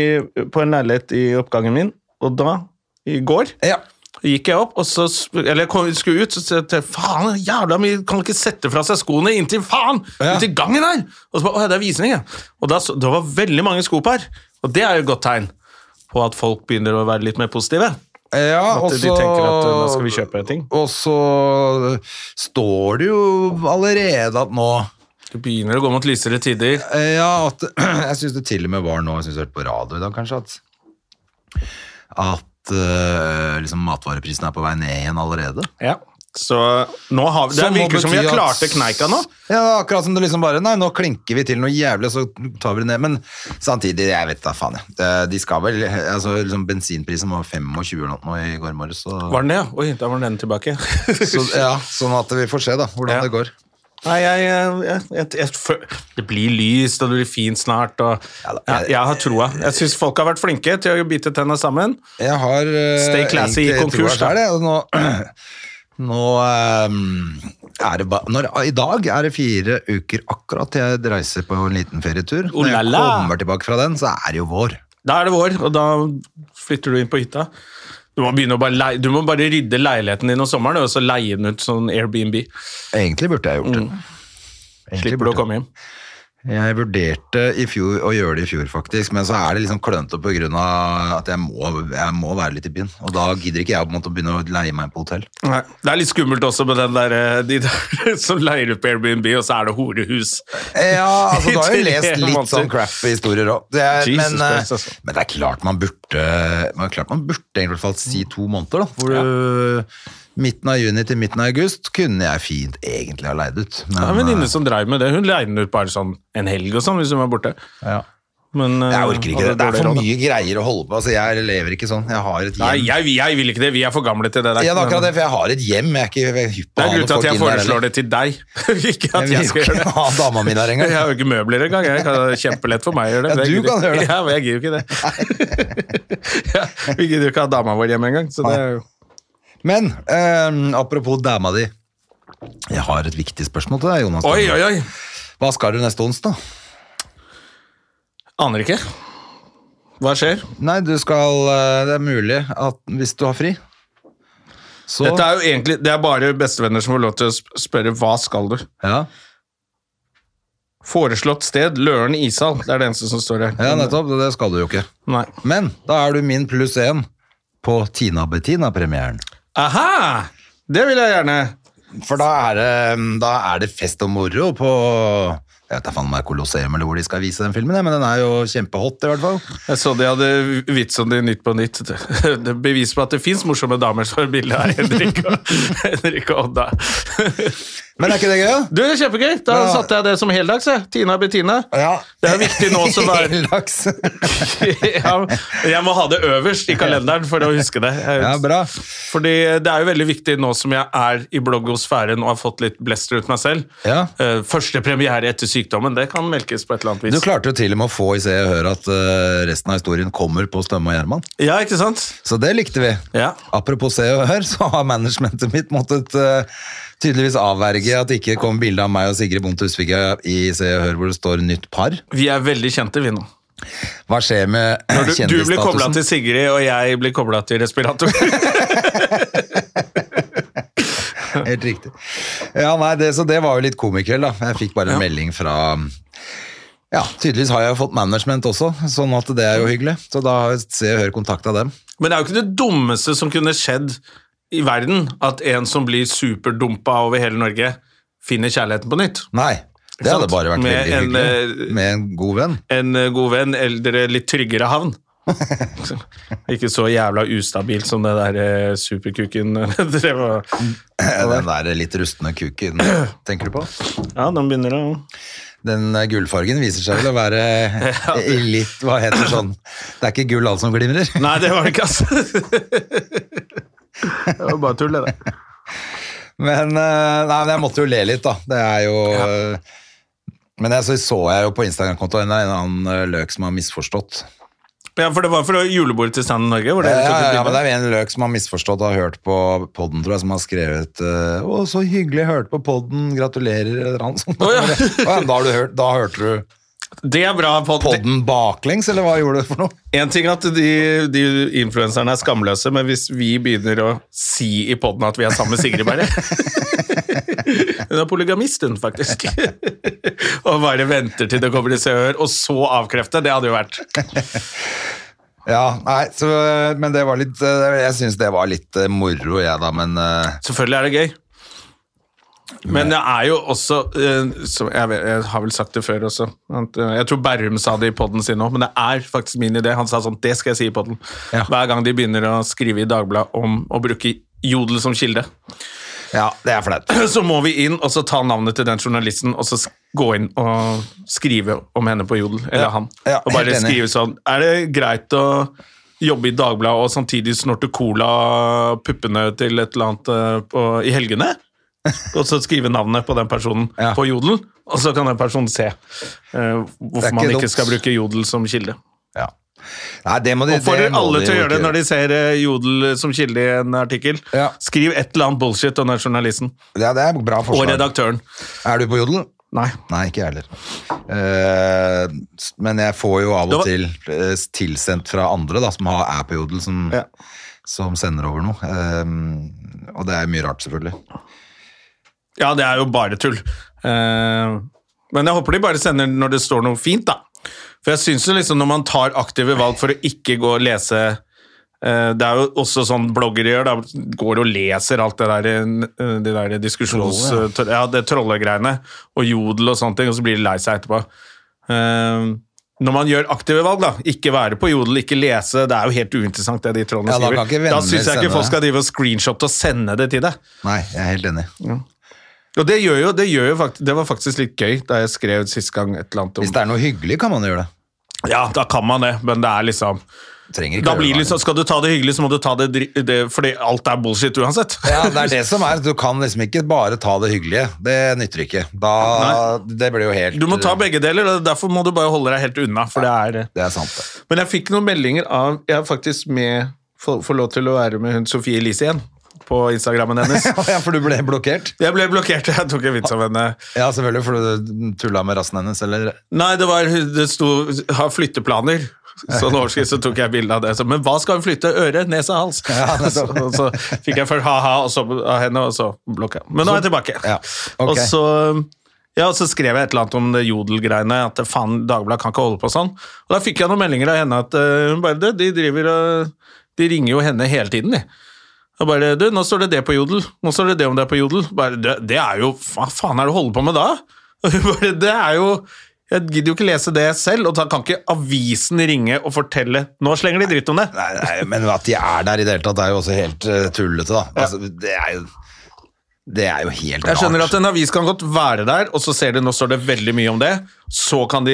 på en leilighet i oppgangen min, og da, i går, Ja. gikk jeg opp, og så, sp- eller jeg kom, skulle ut, så sa jeg til faen, jævla mye, kan ikke sette fra seg skoene inntil faen, Ja. inntil gangen her. Og så bare, åja, det er visning, ja. Og da, så, det var veldig mange sko på her, og det er jo et godt tegn på at folk begynner å være litt mer positive. Ja, og de så tenker at, eh, nå skal vi kjøpe ting. Og så står det jo allerede at nå Det begynner å gå mot lysere tider. Eh, Ja, at jeg syns det til og med var nå, jeg syns jeg hørte på radio i dag kanskje, at at eh, liksom matvareprisen er på vei ned igjen allerede. Ja. Så nå har vi, det Som må virker som vi bety har at- klarte kneika nå. Ja, det er akkurat som det liksom bare Nei, nå klinker vi til noe jævlig, og så tar vi det ned. Men samtidig, jeg vet da faen, jeg. Eh, De skal vel Altså, liksom bensinprisen var 25 eller noe i går morges, så, Var den det? ja? Oi, da var den tilbake. så Ja, sånn at vi får se, da, hvordan Ja. det går. Nei, jeg, jeg, jeg, jeg, fø- Det blir lyst, og det blir fint snart. Og, Ja da, jeg, jeg- jeg har troa. Jeg syns folk har vært flinke til å bite tenna sammen. Jeg har eh, Stay classy i egentlig konkurs, troa selv, da. jeg, og Nå, nå eh, er det bare når, I dag er det fire uker akkurat til jeg reiser på en liten ferietur. Oh Når la jeg la. kommer tilbake fra den, så er det jo vår. Da er det vår, og da flytter du inn på hytta. Du må, begynne å bare, lei- du må bare rydde leiligheten din om sommeren og så leie den ut sånn Airbnb. Egentlig burde jeg gjort det. Egentlig Mm. Slipper du burde å komme hjem. Jeg vurderte i fjor å gjøre det i fjor, faktisk, men så er det liksom klønete pga. at jeg må, jeg må være litt i byen. Og da gidder ikke jeg på en måte å begynne å leie meg på hotell. Nei. Det er litt skummelt også med den der, eh, de der som leier ut på Airbnb, og så er det horehus. Ja, altså du har I jo lest tre litt måneder. sånn crappy historier òg. Men, eh, Jesus Christ, altså. men det er klart man burde man er klart man burde egentlig i hvert fall si to måneder, da. Hvor du, midten av juni til midten av august kunne jeg fint egentlig ha leid ut. Men, eh, Det er en venninne som dreiv med det. Hun leide den ut bare sånn en helg og sånn, hvis hun var borte. ja. Men, eh, Jeg orker ikke det. hadde Det er dårlig for råd, da. mye greier å holde på. Altså, jeg lever ikke sånn. Jeg har et Nei, hjem. jeg, jeg vil ikke det. Vi er for gamle til det der. Ja, det er akkurat det, for jeg har et hjem. Jeg er ikke jeg er hypp Det på å ha er noen grunnen til at folk jeg inn der foreslår heller. det til deg. ikke at Jeg vil jeg jo skal gjøre ikke det. ha dama mi der engang. Jeg har jo ikke møbler engang. Jeg kan det er kjempelett for meg å gjøre det. Ja, men jeg du gidder- kan gjøre det. Ja, men jeg gidder jo ikke det. ja, vi gidder jo ikke ha dama vår hjemme engang. Så det er jo Men eh, apropos dama di. Jeg har et viktig spørsmål til deg, Jonas. Oi, oi, oi! Hva skal du neste onsdag? Aner ikke. Hva skjer? Nei, du skal eh, Det er mulig at hvis du har fri, så Dette er jo egentlig, Det er bare bestevenner som får lov til å sp- spørre hva skal du. ja, Foreslått sted Løren ishall. Det er det eneste som står her. ja, nettopp. Det skal du jo ikke. Nei. Men da er du min pluss én på Tina Bettina-premieren. Aha! Det vil jeg gjerne. For da er, det, da er det fest og moro på Jeg vet da faen om det er Colosseum eller hvor de skal vise den filmen, ja, men den er jo kjempehot, i hvert fall. Jeg så de hadde vits om det i Nytt på Nytt. Det bevis på at det fins morsomme damer som har bilde av Henrik og, Henrik og Odda. Men er ikke det gøy, da? Du, det er kjempegøy! Da Ja. satte jeg det som heldags. jeg. Tina og Bettina. Ja. Det er viktig nå også å være Heldags. ja, Jeg må ha det øverst i kalenderen for å huske det. Ja, bra. Fordi det er jo veldig viktig nå som jeg er i bloggosfæren og har fått litt blester ut meg selv. Ja. Eh, Første premiere etter sykdommen, det kan melkes på et eller annet Du vis. klarte jo til og med å få i Se og Hør at eh, resten av historien kommer på Stømme og Gjerman. Ja, ikke sant? Så det likte vi. Ja. Apropos Se og Hør, så har managementet mitt måttet eh, tydeligvis avverge at det ikke kom bilde av meg og Sigrid Bonde Tusvika i Se og Hør hvor det står 'nytt par'. Vi er veldig kjente, vi nå. Hva skjer med Når du, du blir kobla kjendisstatusen? til Sigrid, og jeg blir kobla til respirator. Helt riktig. Ja, nei, det, så det var jo litt komikveld, da. Jeg fikk bare en Ja. melding fra ja, tydeligvis har jeg jo fått management også, sånn at det er jo hyggelig. Så da har Se og Hør kontakta dem. Men det er jo ikke det dummeste som kunne skjedd i verden at en som blir superdumpa over hele Norge, finner kjærligheten på nytt. Nei, det hadde sant? bare vært Med veldig en, hyggelig. eh, Med en god venn. En eh, god venn, eldre, litt tryggere havn. Ikke så jævla ustabilt som det der eh, superkuken drev og Den der litt rustne kuken, tenker du på? Ja, den begynner å Den eh, gullfargen viser seg vel å være eh, litt Hva heter det sånn Det er ikke gull alt som glimrer. Nei, det var det ikke, altså. det var bare tull, det der. Men eh, nei, men jeg måtte jo le litt, da. Det er jo eh, Men jeg, så så jeg jo på Instagram-kontoen en eller annen eh, løk som har misforstått. Ja, for det var fra julebordet til Stand Norge? Hvor Ja, dere tok ja, et ja, men bilde. det er en løk som har misforstått og har hørt på podden, tror jeg, som har skrevet eh, 'Å, så hyggelig, jeg hørte på podden, gratulerer', eller noe sånt. Å, ja. Å, ja, men da, har du hørt, da hørte du det er bra. Pod podden baklengs, eller hva gjorde du for noe? En ting er at de, de influenserne er skamløse, men hvis vi begynner å si i poden at vi er sammen med Sigrid Berre Hun er polygamist, hun, faktisk. og bare venter til det kommer til sør, og så avkrefte. Det hadde jo vært Ja, nei, så, eh, men det var litt eh, Jeg syns det var litt eh, moro, jeg, da, men eh, Selvfølgelig er det gøy. Men det er jo også eh, som jeg, vet, jeg har vel sagt det før også. At, eh, jeg tror Berrum sa det i poden sin òg, men det er faktisk min idé. Han sa sånn Det skal jeg si i poden. Ja. Hver gang de begynner å skrive i Dagbladet om å bruke Jodel som kilde, Ja, det er flaut. så må vi inn og så ta navnet til den journalisten og så sk- gå inn og skrive om henne på Jodel. Eller han. Ja, og bare helt enig. skrive sånn Er det greit å jobbe i Dagbladet og samtidig snorte cola av puppene til et eller annet eh, på, i helgene? Og så skrive navnet på den personen Ja. på Jodel, og så kan den personen se eh, hvorfor ikke man ikke dumt. skal bruke Jodel som kilde. Ja. Nei, det må de, Og får det må alle de til å jo gjøre det ikke når de ser eh, Jodel som kilde i en artikkel. Ja. Skriv et eller annet bullshit om den journalisten. Ja, det er bra Og forslag. redaktøren. Er du på Jodel? Nei. Nei, ikke jeg heller. Eh, s- men jeg får jo av og Det var- til eh, tilsendt fra andre da, som har, er på Jodel, som, Ja. som sender over noe. Eh, og det er mye rart, selvfølgelig. Ja, det er jo bare tull. Eh, men jeg håper de bare sender når det står noe fint, da. For jeg syns jo liksom når man tar aktive valg for å ikke gå og lese eh, Det er jo også sånn bloggere gjør, da. Går og leser alt det der, eh, de der diskusjons... Trollet, ja. det trollegreiene. Og jodel og sånne ting, og så blir de lei seg etterpå. Eh, når man gjør aktive valg, da. Ikke være på jodel, ikke lese. Det er jo helt uinteressant, det de trollene Ja, da kan ikke skriver. venner Da syns jeg sende ikke folk det. skal drive og screenshotte og sende det til deg. Nei, jeg er helt enig. Og det gjør jo, det gjør jo faktisk, det var faktisk litt gøy da jeg skrev sist gang et eller annet Hvis om det er noe hyggelig, kan man jo gjøre det. Ja, da kan man det, men det er liksom Trenger ikke Da gjøre blir det det. liksom Skal du ta det hyggelig, så må du ta det, dri- det Fordi alt er bullshit uansett. Ja, det er det som er. Du kan liksom ikke bare ta det hyggelige. Det nytter ikke. Da, det blir jo helt Du må ta begge deler, og derfor må du bare holde deg helt unna, for det er Det er sant, det. Men jeg fikk noen meldinger av Jeg er faktisk med Får får lov til å være med hun Sofie Elise igjen på Instagrammen hennes. Ja, for du ble blokkert? Jeg ble blokkert, jeg tok en vits om henne. Ja, selvfølgelig, for du tulla med rassen hennes, eller Nei, det var Det sto 'har flytteplaner'. Sånn overskrift, så tok jeg bilde av det. Så, men hva skal hun flytte? Øre, nese, hals? så, og så fikk jeg først ha-ha og så av henne, og så blokka. Men nå er jeg tilbake. Ja, ok. Og så ja, og så skrev jeg et eller annet om det jodel-greiene, at faen, Dagbladet kan ikke holde på sånn. Og da fikk jeg noen meldinger av henne at eh, hun bare, du, de driver og De ringer jo henne hele tiden, de. Og bare Du, nå står det det på Jodel. Nå står det det om det er på Jodel. Bare, det, det er jo Hva faen er det du holder på med da? Og hun bare, det er jo Jeg gidder jo ikke lese det selv, og da kan ikke avisen ringe og fortelle Nå slenger de dritt om det. Nei, nei, men at de er der i det hele tatt, er jo også helt eh, tullete, da. Altså, det er jo Det er jo helt rart. Jeg skjønner at en avis kan godt være der, og så ser de nå står det veldig mye om det. Så kan de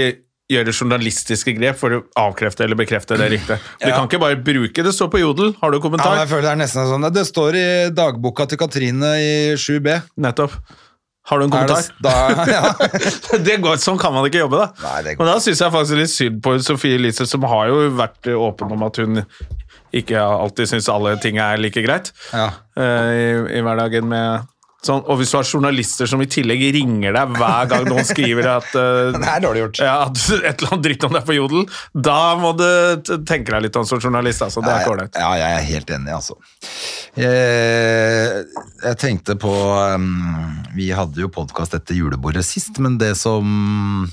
gjøre journalistiske grep for å avkrefte eller bekrefte det riktige. De kan ikke bare bruke det står på Jodel. Har du ja, men kommentar? jeg føler det er nesten sånn Det står i dagboka til Katrine i 7B. Nettopp. Har du en Er det, kommentar? da, ja. det går, sånn kan man ikke jobbe, da. Nei, det går Men da syns jeg faktisk litt synd på Sofie Elise, som har jo vært åpen om at hun ikke alltid syns alle ting er like greit Ja. eh, i, i hverdagen med sånn. Og hvis du har journalister som i tillegg ringer deg hver gang noen skriver at eh, Det er dårlig gjort. ja, at et eller annet dritt om deg på jodel, da må du t- tenke deg litt om som journalist. Altså. Det er ikke Ja, ålreit. Ja, jeg er helt enig, altså. Jeg, jeg tenkte ehm, på um, Vi hadde jo podkast etter julebordet sist, men det som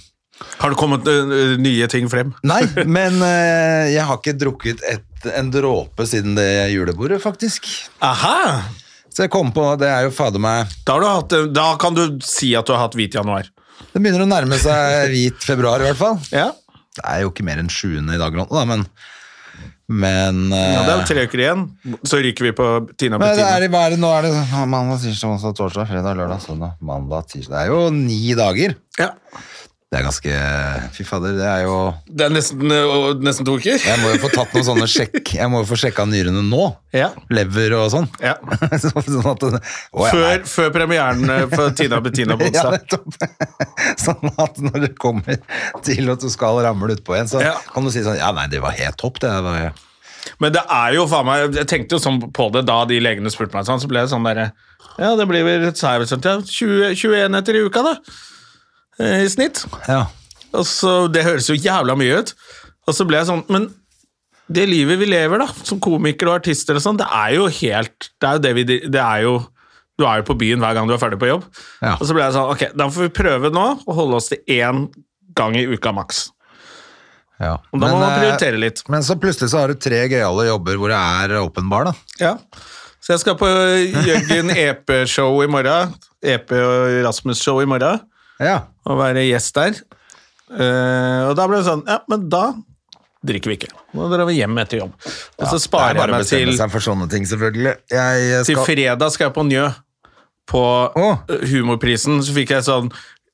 Har det kommet ø, ø, nye ting frem? Nei, men eh, jeg har ikke drukket et, en dråpe siden det julebordet, faktisk. Aha! Så jeg kom på at det er jo fader meg Da, har du hatt, ø, da kan du si at du har hatt hvit januar. Det begynner å nærme seg hvit februar, i hvert fall. Ja, Det er jo ikke mer enn sjuende i dag, nå, da, men Men, eh, ja Det er jo tre uker igjen, så ryker vi på Tina men det er, Bettina. i- hva er det, nå er det mandag, tirsdag, onsdag, torsdag, fredag, lørdag, søndag, mandag, tirsdag Det er jo ni dager. Ja. Det er ganske Fy fader, det er jo Det er nesten, ø, nesten to uker. Jeg må jo få tatt noen sånne sjekk. Jeg må jo få sjekka nyrene nå. Ja. Lever og sånn. Ja. Så- sånn at det, Å, ja, nei. Før, før premieren eh, ø, på Tina Bettina på Ja, onsdag. nettopp. Sånn at når det kommer til at du skal ramle utpå igjen, så Ja. kan du si sånn Ja, nei, det var helt topp, det. Var, Men det er jo faen meg Jeg tenkte jo sånn på det da de legene spurte meg sånn, så ble det sånn derre Ja, det blir vel et seier, sånn, ja, 20, 21 etter i uka, da. eh, I snitt. ja. Og så, det høres jo jævla mye ut. Og så ble jeg sånn Men det livet vi lever, da, som komikere og artister og sånn, det er jo helt Det er jo det vi Det er jo Du er jo på byen hver gang du er ferdig på jobb. Ja. Og så ble jeg sånn Ok, da får vi prøve nå å holde oss til én gang i uka maks. ja. Og da må man eh, prioritere litt. Men så plutselig så har du tre gøyale jobber hvor det er åpen bar, da. Ja. Så jeg skal på Jørgen EP-show i morgen. EP og Rasmus-show i morgen. Ja. Og være gjest der. Eh, og da ble det sånn Ja, men da drikker vi ikke. Nå drar vi hjem etter jobb. Og så sparer det er jeg bare å meg bestemme til seg for sånne ting, selvfølgelig. Jeg Til skal fredag skal jeg på Njø. På Å. eh, humorprisen så fikk jeg sånn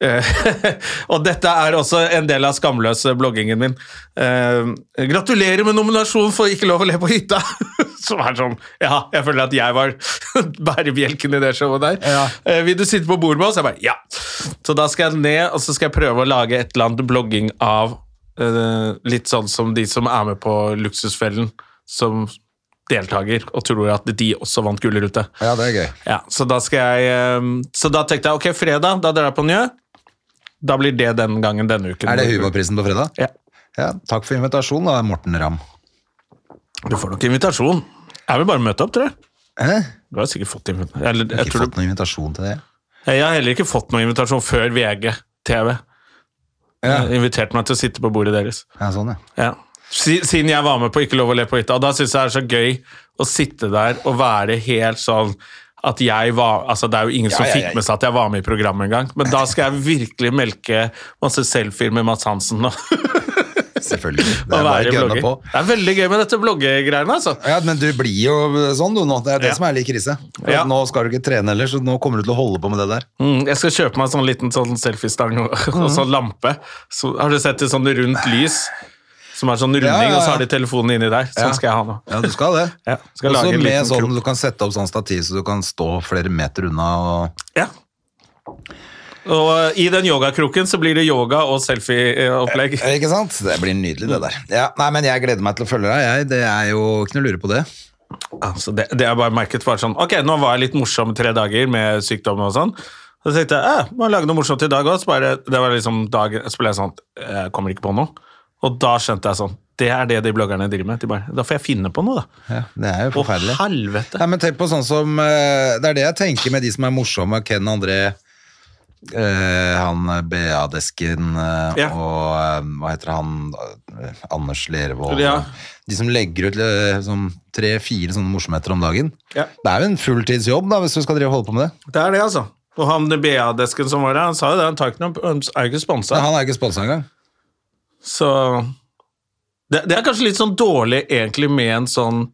eh, og dette er også en del av skamløse bloggingen min. Eh, gratulerer med nominasjon for Ikke lov å le på hytta! Som er sånn Ja, jeg føler at jeg var bærebjelken i det showet der. Ja. Eh, vil du sitte på bord med oss? Jeg bare ja. Så da skal jeg ned, og så skal jeg prøve å lage et eller annet blogging av eh, litt sånn som de som er med på Luksusfellen, som deltaker, og tror at de også vant Gullrute. Ja, det er gøy. Ja, så da skal jeg ehm, Så da tenkte jeg ok, fredag, da drar jeg på Njø. Da blir det den gangen denne uken. Er det humorprisen på fredag? Ja. Ja, takk for invitasjonen, da, Morten Ramm. Du får nok invitasjon. Jeg vil bare møte opp, tror jeg. Hæ? Du har sikkert fått invitasjon. Eller, jeg, Ikke tror fått noen invitasjon til det. du, jeg har heller ikke fått noen invitasjon før VG-TV. Ja. Inviterte meg til å sitte på bordet deres. Ja, sånn, ja. Ja. Si- Siden jeg var med på Ikke lov å le på hytta. Og da syns jeg det er så gøy å sitte der og være helt sånn at jeg var, altså Det er jo ingen som ja, fikk ja. med seg at jeg var med i programmet engang, men da skal jeg virkelig melke masse selfier med Mads Hansen og, Selvfølgelig. og Det er bare være å gønne blogger. på. Det er veldig gøy med dette bloggegreiene, altså. Ja, men du blir jo sånn du nå. Det er det Ja. som er litt krise. For Ja. Nå skal du ikke trene heller, så nå kommer du til å holde på med det der. Mm, jeg skal kjøpe meg en sånn liten sånn selfiestang og, og sånn lampe. Så, har du sett det sånn rundt lys? Som er sånn runding, Ja, ja, ja. og så har de telefonen inni der. Sånn Ja. skal jeg ha nå. Ja, du skal det. Ja, skal Også lage en med liten sånn krok. du kan sette opp sånn stativ, så du kan stå flere meter unna og Ja. Og eh, i den yogakroken så blir det yoga og selfie-opplegg. Eh, Ikke sant? Det blir nydelig, det der. Ja, nei, men jeg gleder meg til å følge deg, jeg. Det er jo ikke noe å lure på det. Altså, det, det er bare merket bare sånn Ok, nå var jeg litt morsom i tre dager med sykdom og sånn. Så tenkte jeg eh, må jeg lage noe morsomt i dag òg. Så bare, det var liksom dagen, så ble jeg sånn Jeg kommer ikke på noe. Og da skjønte jeg sånn Det er det de bloggerne driver med. De bare, da får jeg finne på noe, da. Ja, det er jo Å, forferdelig. helvete. Nei, men tenk på sånn som eh, Det er det jeg tenker med de som er morsomme. Ken André, eh, han BA-desken eh, Ja. og eh, hva heter han eh, Anders Lervold. Ja. De som legger ut eh, sånn tre-fire sånne morsomheter om dagen. Ja. Det er jo en fulltidsjobb da, hvis du skal drive og holde på med det. Det er det, altså. Og han BA-desken som var der, han sa jo det. Han tar ikke noe, han er jo ikke sponsa. Han er jo ikke sponsa engang. Så det, det er kanskje litt sånn dårlig egentlig med en sånn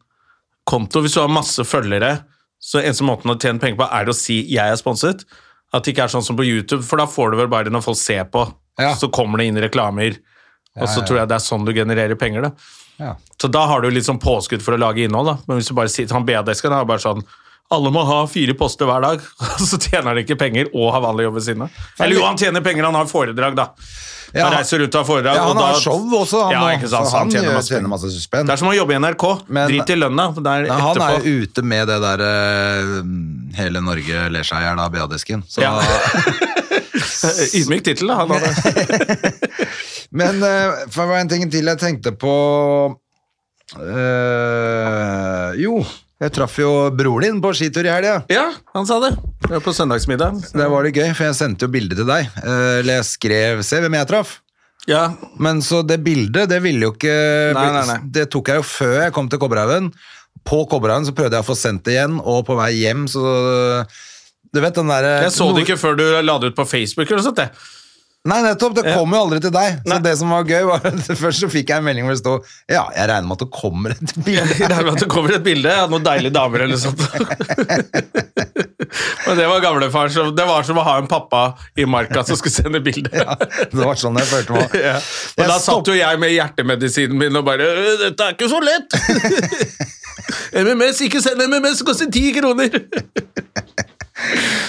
konto. Hvis du har masse følgere, så eneste måten å tjene penger på er å si 'jeg er sponset'. At det ikke er sånn som på YouTube, for da får du vel bare når folk ser på, Ja. så kommer det inn reklamer. Og så tror jeg det er sånn du genererer penger, da. Ja. Så da har du litt sånn påskudd for å lage innhold, da. Men hvis du bare sier han BD-desken, er bare sånn alle må ha fire poster hver dag, og så tjener han ikke penger og har vanlig jobb ved siden av. Eller jo, han tjener penger, han har foredrag, da. Ja, han reiser rundt og har foredrag. Ja, han og da, har show også, han, ja, nå, ikke sant, så så han, han tjener gjør- masse tjener penger. masse spenn. Det er som å jobbe i NRK. Men- Drit i lønna. Det er Nei, han etterpå. er jo ute med det der eh, Hele Norge ler seg i hjel av BA-desken. Så Ja. Ydmyk tittel, da. Han hadde. Men eh, for det var en ting til jeg tenkte på eh, Jo, jeg traff jo broren din på skitur i helga. Ja, han sa det. Det var på søndagsmiddag. Det var det gøy, for jeg sendte jo bilde til deg. Eh, Eller jeg skrev Se hvem jeg traff. Ja. Men så det bildet, det ville jo ikke Nei, nei, nei. Det tok jeg jo før jeg kom til Kobberhaugen. På Kobberhaugen så prøvde jeg å få sendt det igjen, og på vei hjem så Du vet den eh, derre Jeg så det ikke før du la det ut på Facebook. eller noe sånt, det. Nei, nettopp! Det kom jo aldri til deg. Så Nei. det som var gøy, var at først så fikk jeg en melding hvor det stod Ja, jeg regner med at det kommer et Det bilde. er med at det kommer et bilde av noen deilige damer eller noe sånt. Men det var gamlefar. som- Det var som å ha en pappa i marka som skulle sende bilde. Ja, det var sånn jeg følte meg. Ja. Jeg Men da stopp- satt jo jeg med hjertemedisinen min og bare «Øh, 'Dette er ikke så lett!' MMS, ikke send MMS, det koster ti kroner!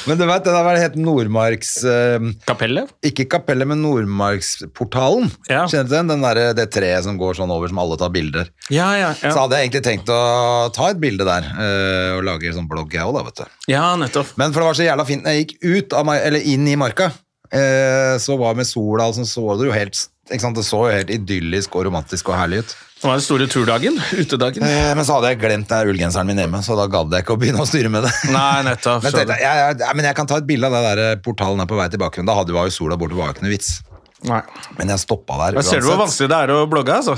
Men du vet, det der var helt Nordmarks eh, Kapellet? Ikke kapellet, men Nordmarksportalen. Ja. Kjenner du den? den der, det treet som går sånn over, som alle tar bilder. Ja, ja, Så ja. hadde jeg egentlig tenkt å ta et bilde der, eh, og lage sånn blogg jeg òg, da, vet du. ja nettopp. Men for det var så jævla fint når jeg gikk ut av, mar- eller inn i marka, eh, så var med sola, altså, så det jo helt ikke sant? Det så jo helt idyllisk og romantisk og herlig ut. Det var den store turdagen. Utedagen. Eh, Men så hadde jeg glemt den ullgenseren min hjemme, så da gadd jeg ikke å begynne å styre med det. Nei, nettopp. Men, skjønner. tenkte jeg, jeg, jeg, nei, men jeg kan ta et bilde av det der eh, portalen her på vei tilbake. Men da hadde var jo sola borte, det var jo ikke noe vits. Nei. Men jeg stoppa der Jeg ser du hvor vanskelig det er å blogge, altså?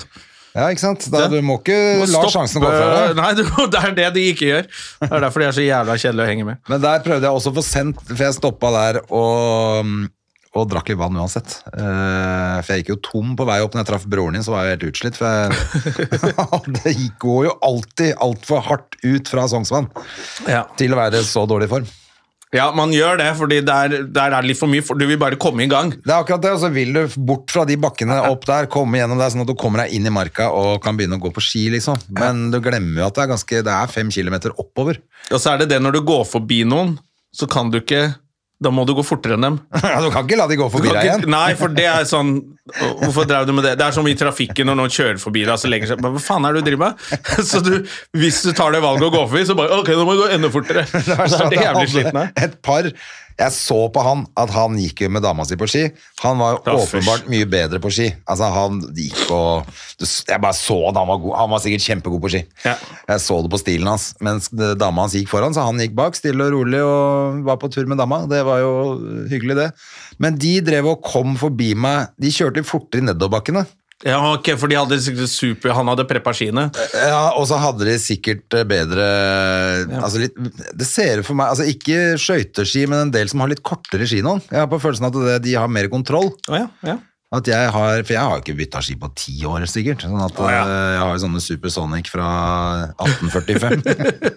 Ja, ikke sant? Da, Ja. du må ikke Må la stoppe- sjansen gå fra deg. Nei, du, det er det de ikke gjør. Det er derfor de er så jævla kjedelige å henge med. Men der prøvde jeg også å få sendt, for jeg stoppa der og, og drakk litt vann uansett. Eh, for jeg gikk jo tom på vei opp når jeg traff broren din, så var jeg helt utslitt. For jeg, det gikk- går jo alltid altfor hardt ut fra Sognsvann Ja. til å være i så dårlig form. man gjør det, fordi der, der er det litt for mye. For du vil bare komme i gang. Det er akkurat det, og så vil du bort fra de bakkene opp der, komme gjennom der, sånn at du kommer deg inn i marka og kan begynne å gå på ski, liksom. Men du glemmer jo at det er ganske, det er fem kilometer oppover. Og så er det det når du går forbi noen, så kan du ikke Da må du gå fortere enn dem. Ja, du kan ikke la de gå Du forbi kan deg ikke- igjen. Nei, for det er sånn å, Hvorfor drev du med det? Det er som i trafikken når noen kjører forbi deg og så legger seg men Hva faen er det du driver med? Så du, hvis du tar det valget å gå forbi, så bare Ok, nå må du gå enda fortere. Så er det jævlig Jeg sliten hadde her. Et par Jeg så på han at han gikk jo med dama si på ski. Han var jo Ja, fysj. åpenbart mye bedre på ski. Altså, han gikk og du s- Jeg bare så at han var god. Han var sikkert kjempegod på ski. Ja. Jeg så det på stilen hans. Mens det- dama hans gikk foran, så han gikk bak, stille og rolig, og var på tur med dama. Det var jo hyggelig, det. Men de drev og kom forbi meg. De kjørte litt fortere i nedoverbakkene. Ja, ok, for de hadde sikkert super Han hadde preppa skiene. Ja, og så hadde de sikkert eh, bedre altså litt, Det ser ut for meg altså Ikke skøyteski, men en del som har litt kortere ski nå. Jeg har på følelsen at det, de har mer kontroll. Å ja, ja. At jeg har, for jeg har ikke bytta ski på ti år, sikkert. Sånn at Å, ja. eh, Jeg har jo sånne Supersonic fra 1845.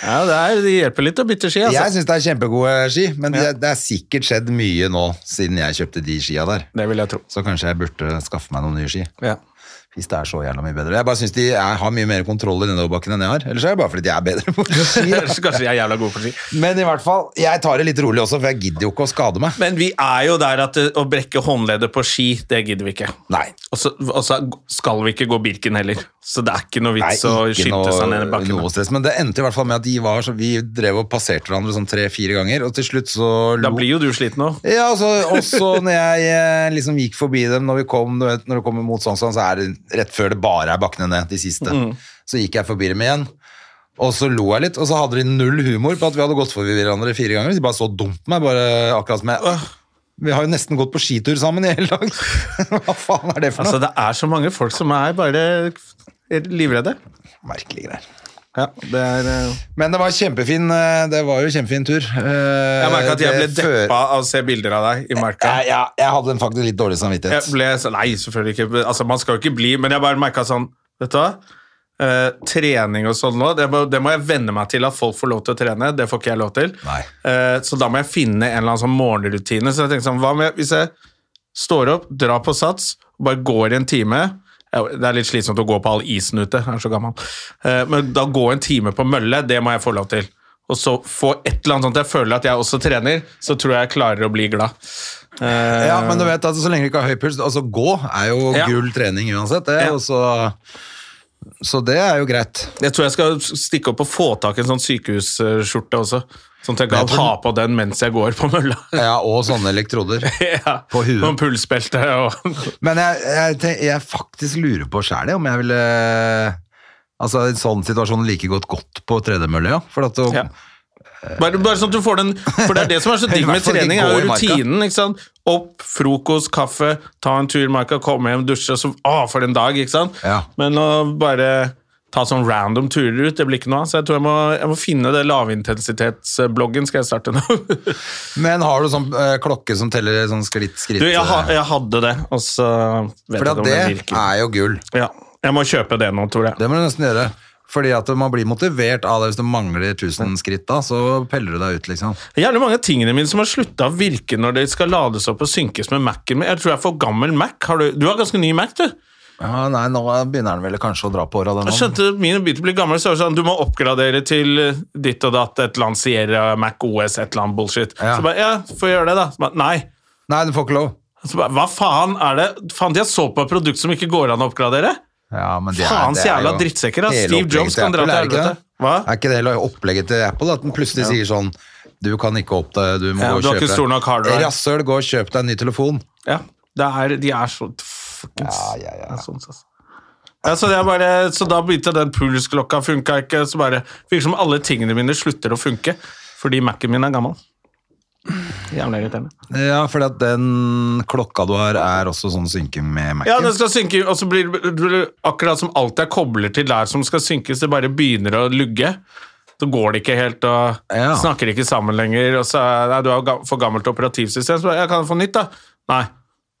Ja, det, er, det hjelper litt å bytte ski, altså. jeg syns det er kjempegode ski, men det, det er sikkert skjedd mye nå siden jeg kjøpte de skia der. Det vil jeg tro. Så kanskje jeg burde skaffe meg noen nye ski. Ja. Hvis det er så jævla mye bedre. Jeg bare syns de jeg har mye mer kontroll i nedoverbakken enn jeg har. Ellers er det bare fordi de er bedre på ski. da. Ellers kanskje jeg er jævla god på ski. Men i hvert fall, jeg tar det litt rolig også, for jeg gidder jo ikke å skade meg. Men vi er jo der at eh, å brekke håndleddet på ski, det gidder vi ikke. Nei, Og så, og så skal vi ikke gå Birken heller, så det er ikke noe nei vits å ikke skyte noe, seg ned i bakken. noe stress. Men det endte i hvert fall med at de var så Vi drev og passerte hverandre sånn tre-fire ganger, og til slutt så Da lo- blir jo du sliten òg. Ja, altså, også når jeg eh, liksom gikk forbi dem når vi kom, du vet, når du kommer mot Sognsvann, så er det rett før det bare er bakkene ned, de siste. Mm. Så gikk jeg forbi dem igjen, og så lo jeg litt, og så hadde de null humor på at vi hadde gått forbi hverandre fire ganger. De bare så dumt på meg, bare akkurat som jeg... «Åh, Vi har jo nesten gått på skitur sammen i hele dag. Hva faen er det for noe? Altså, det er så mange folk som er bare livredde. Merkelige greier. Ja, det er eh, Men det var kjempefin eh, Det var jo kjempefin tur. Eh, Jeg Jeg merka at jeg ble deppa av å se bilder av deg i marka. Jeg, jeg, jeg hadde en faktisk litt dårlig Jeg samvittighet. ble sånn Nei, selvfølgelig ikke. men, Altså, man skal jo ikke bli Men jeg bare merka sånn Vet du hva? Eh, trening og sånn nå, det må, det må jeg venne meg til at folk får lov til å trene. Det får ikke jeg lov til. Nei. Eh, så da må jeg finne en eller annen sånn morgenrutine. Så jeg tenkte sånn, hva med hvis jeg står opp, drar på sats, og bare går en time Ja, Det er litt slitsomt å gå på all isen ute, jeg er så gammel. Eh, men da gå en time på mølle, det må jeg få lov til. Og så få et eller annet sånt at jeg føler at jeg også trener, så tror jeg jeg klarer å bli glad. Eh, Ja, men du vet at så lenge du ikke har høy puls Altså gå er jo Ja. gull trening uansett. Det, Ja. og så, så det er jo greit. Jeg tror jeg skal stikke opp og få tak i en sånn sykehusskjorte også. Sånn at jeg Men jeg kan tror- ha på den mens jeg går på mølla. Ja, Og sånne elektroder. ja. På huet. Noen pulsbelte og Men jeg, jeg, tenk- jeg faktisk lurer på sjæl om jeg ville Altså i en sånn situasjon like godt gått på tredemølle, ja. For at å Ja. Bare, bare sånn at du får den For det er det som er så digg I hvert med fall ikke trening, gå er i jo marka. rutinen. ikke sant? Opp, frokost, kaffe, ta en tur i marka, komme hjem, dusje, så Å, for en dag, ikke sant? Ja. Men å bare ta sånn random turer ut, det blir ikke noe av. Så jeg tror jeg må, jeg må finne det lavintensitetsbloggen, skal jeg starte nå. Men har du sånn eh, klokke som teller sånn skritt, skritt? Du, jeg, ha, jeg hadde det, og så vet jeg eh, for ikke om det det virker. er jo gull. Ja, jeg må kjøpe det nå, tror jeg. Det må du nesten gjøre. Fordi at man blir motivert av det. Hvis du mangler 1000 skritt da, så peller du deg ut, liksom. Det er Jævlig mange av tingene mine som har slutta å virke når de skal lades opp og synkes med Mac-en min. Jeg tror jeg er for gammel Mac. Har du, du har ganske ny Mac, du. Ja, nei, nå begynner den vel kanskje å dra på åra, den Jeg skjønte at mine begynte å bli gamle, så var det sånn, du må oppgradere til eh, ditt og datt, et eller annet Sierra, Mac OS, et eller annet bullshit. Ja. Så bare, ja, får jeg gjøre det da? Så bare, nei. Nei, du får ikke lov. Så bare, hva faen er det? Faen, de har så på et produkt som ikke går an å oppgradere? Ja, men det er- Faens det er jævla jo drittsekker, da. hele Steve Jobs opplegget til kan dra Apple, til er det ikke helvete. det? Hva? Er ikke det hele opplegget til Apple at den plutselig sier sånn Du kan ikke opp det, du må Ja, gå og du har kjøpe ikke stor nok hardware. Rasshøl, gå og kjøp deg en ny telefon. Ja, det er, de er så fuckings Ja, ja, ja. det er sånn, altså. Ja, så, det er bare, så da begynte den pulsklokka funka ikke. Så bare virker som alle tingene mine slutter å funke fordi Mac-en min er gammel. Jævlig irriterende. Ja, for at den klokka du har, er også sånn synke med Mac-en. Ja, den skal synke, og så blir det blir det akkurat som alt jeg kobler til der som skal synkes, det bare begynner å lugge. Så går det ikke helt, og Ja. snakker ikke sammen lenger. Og så er nei, du har jo ga- for gammelt operativsystem, så jeg kan få nytt, da. Nei.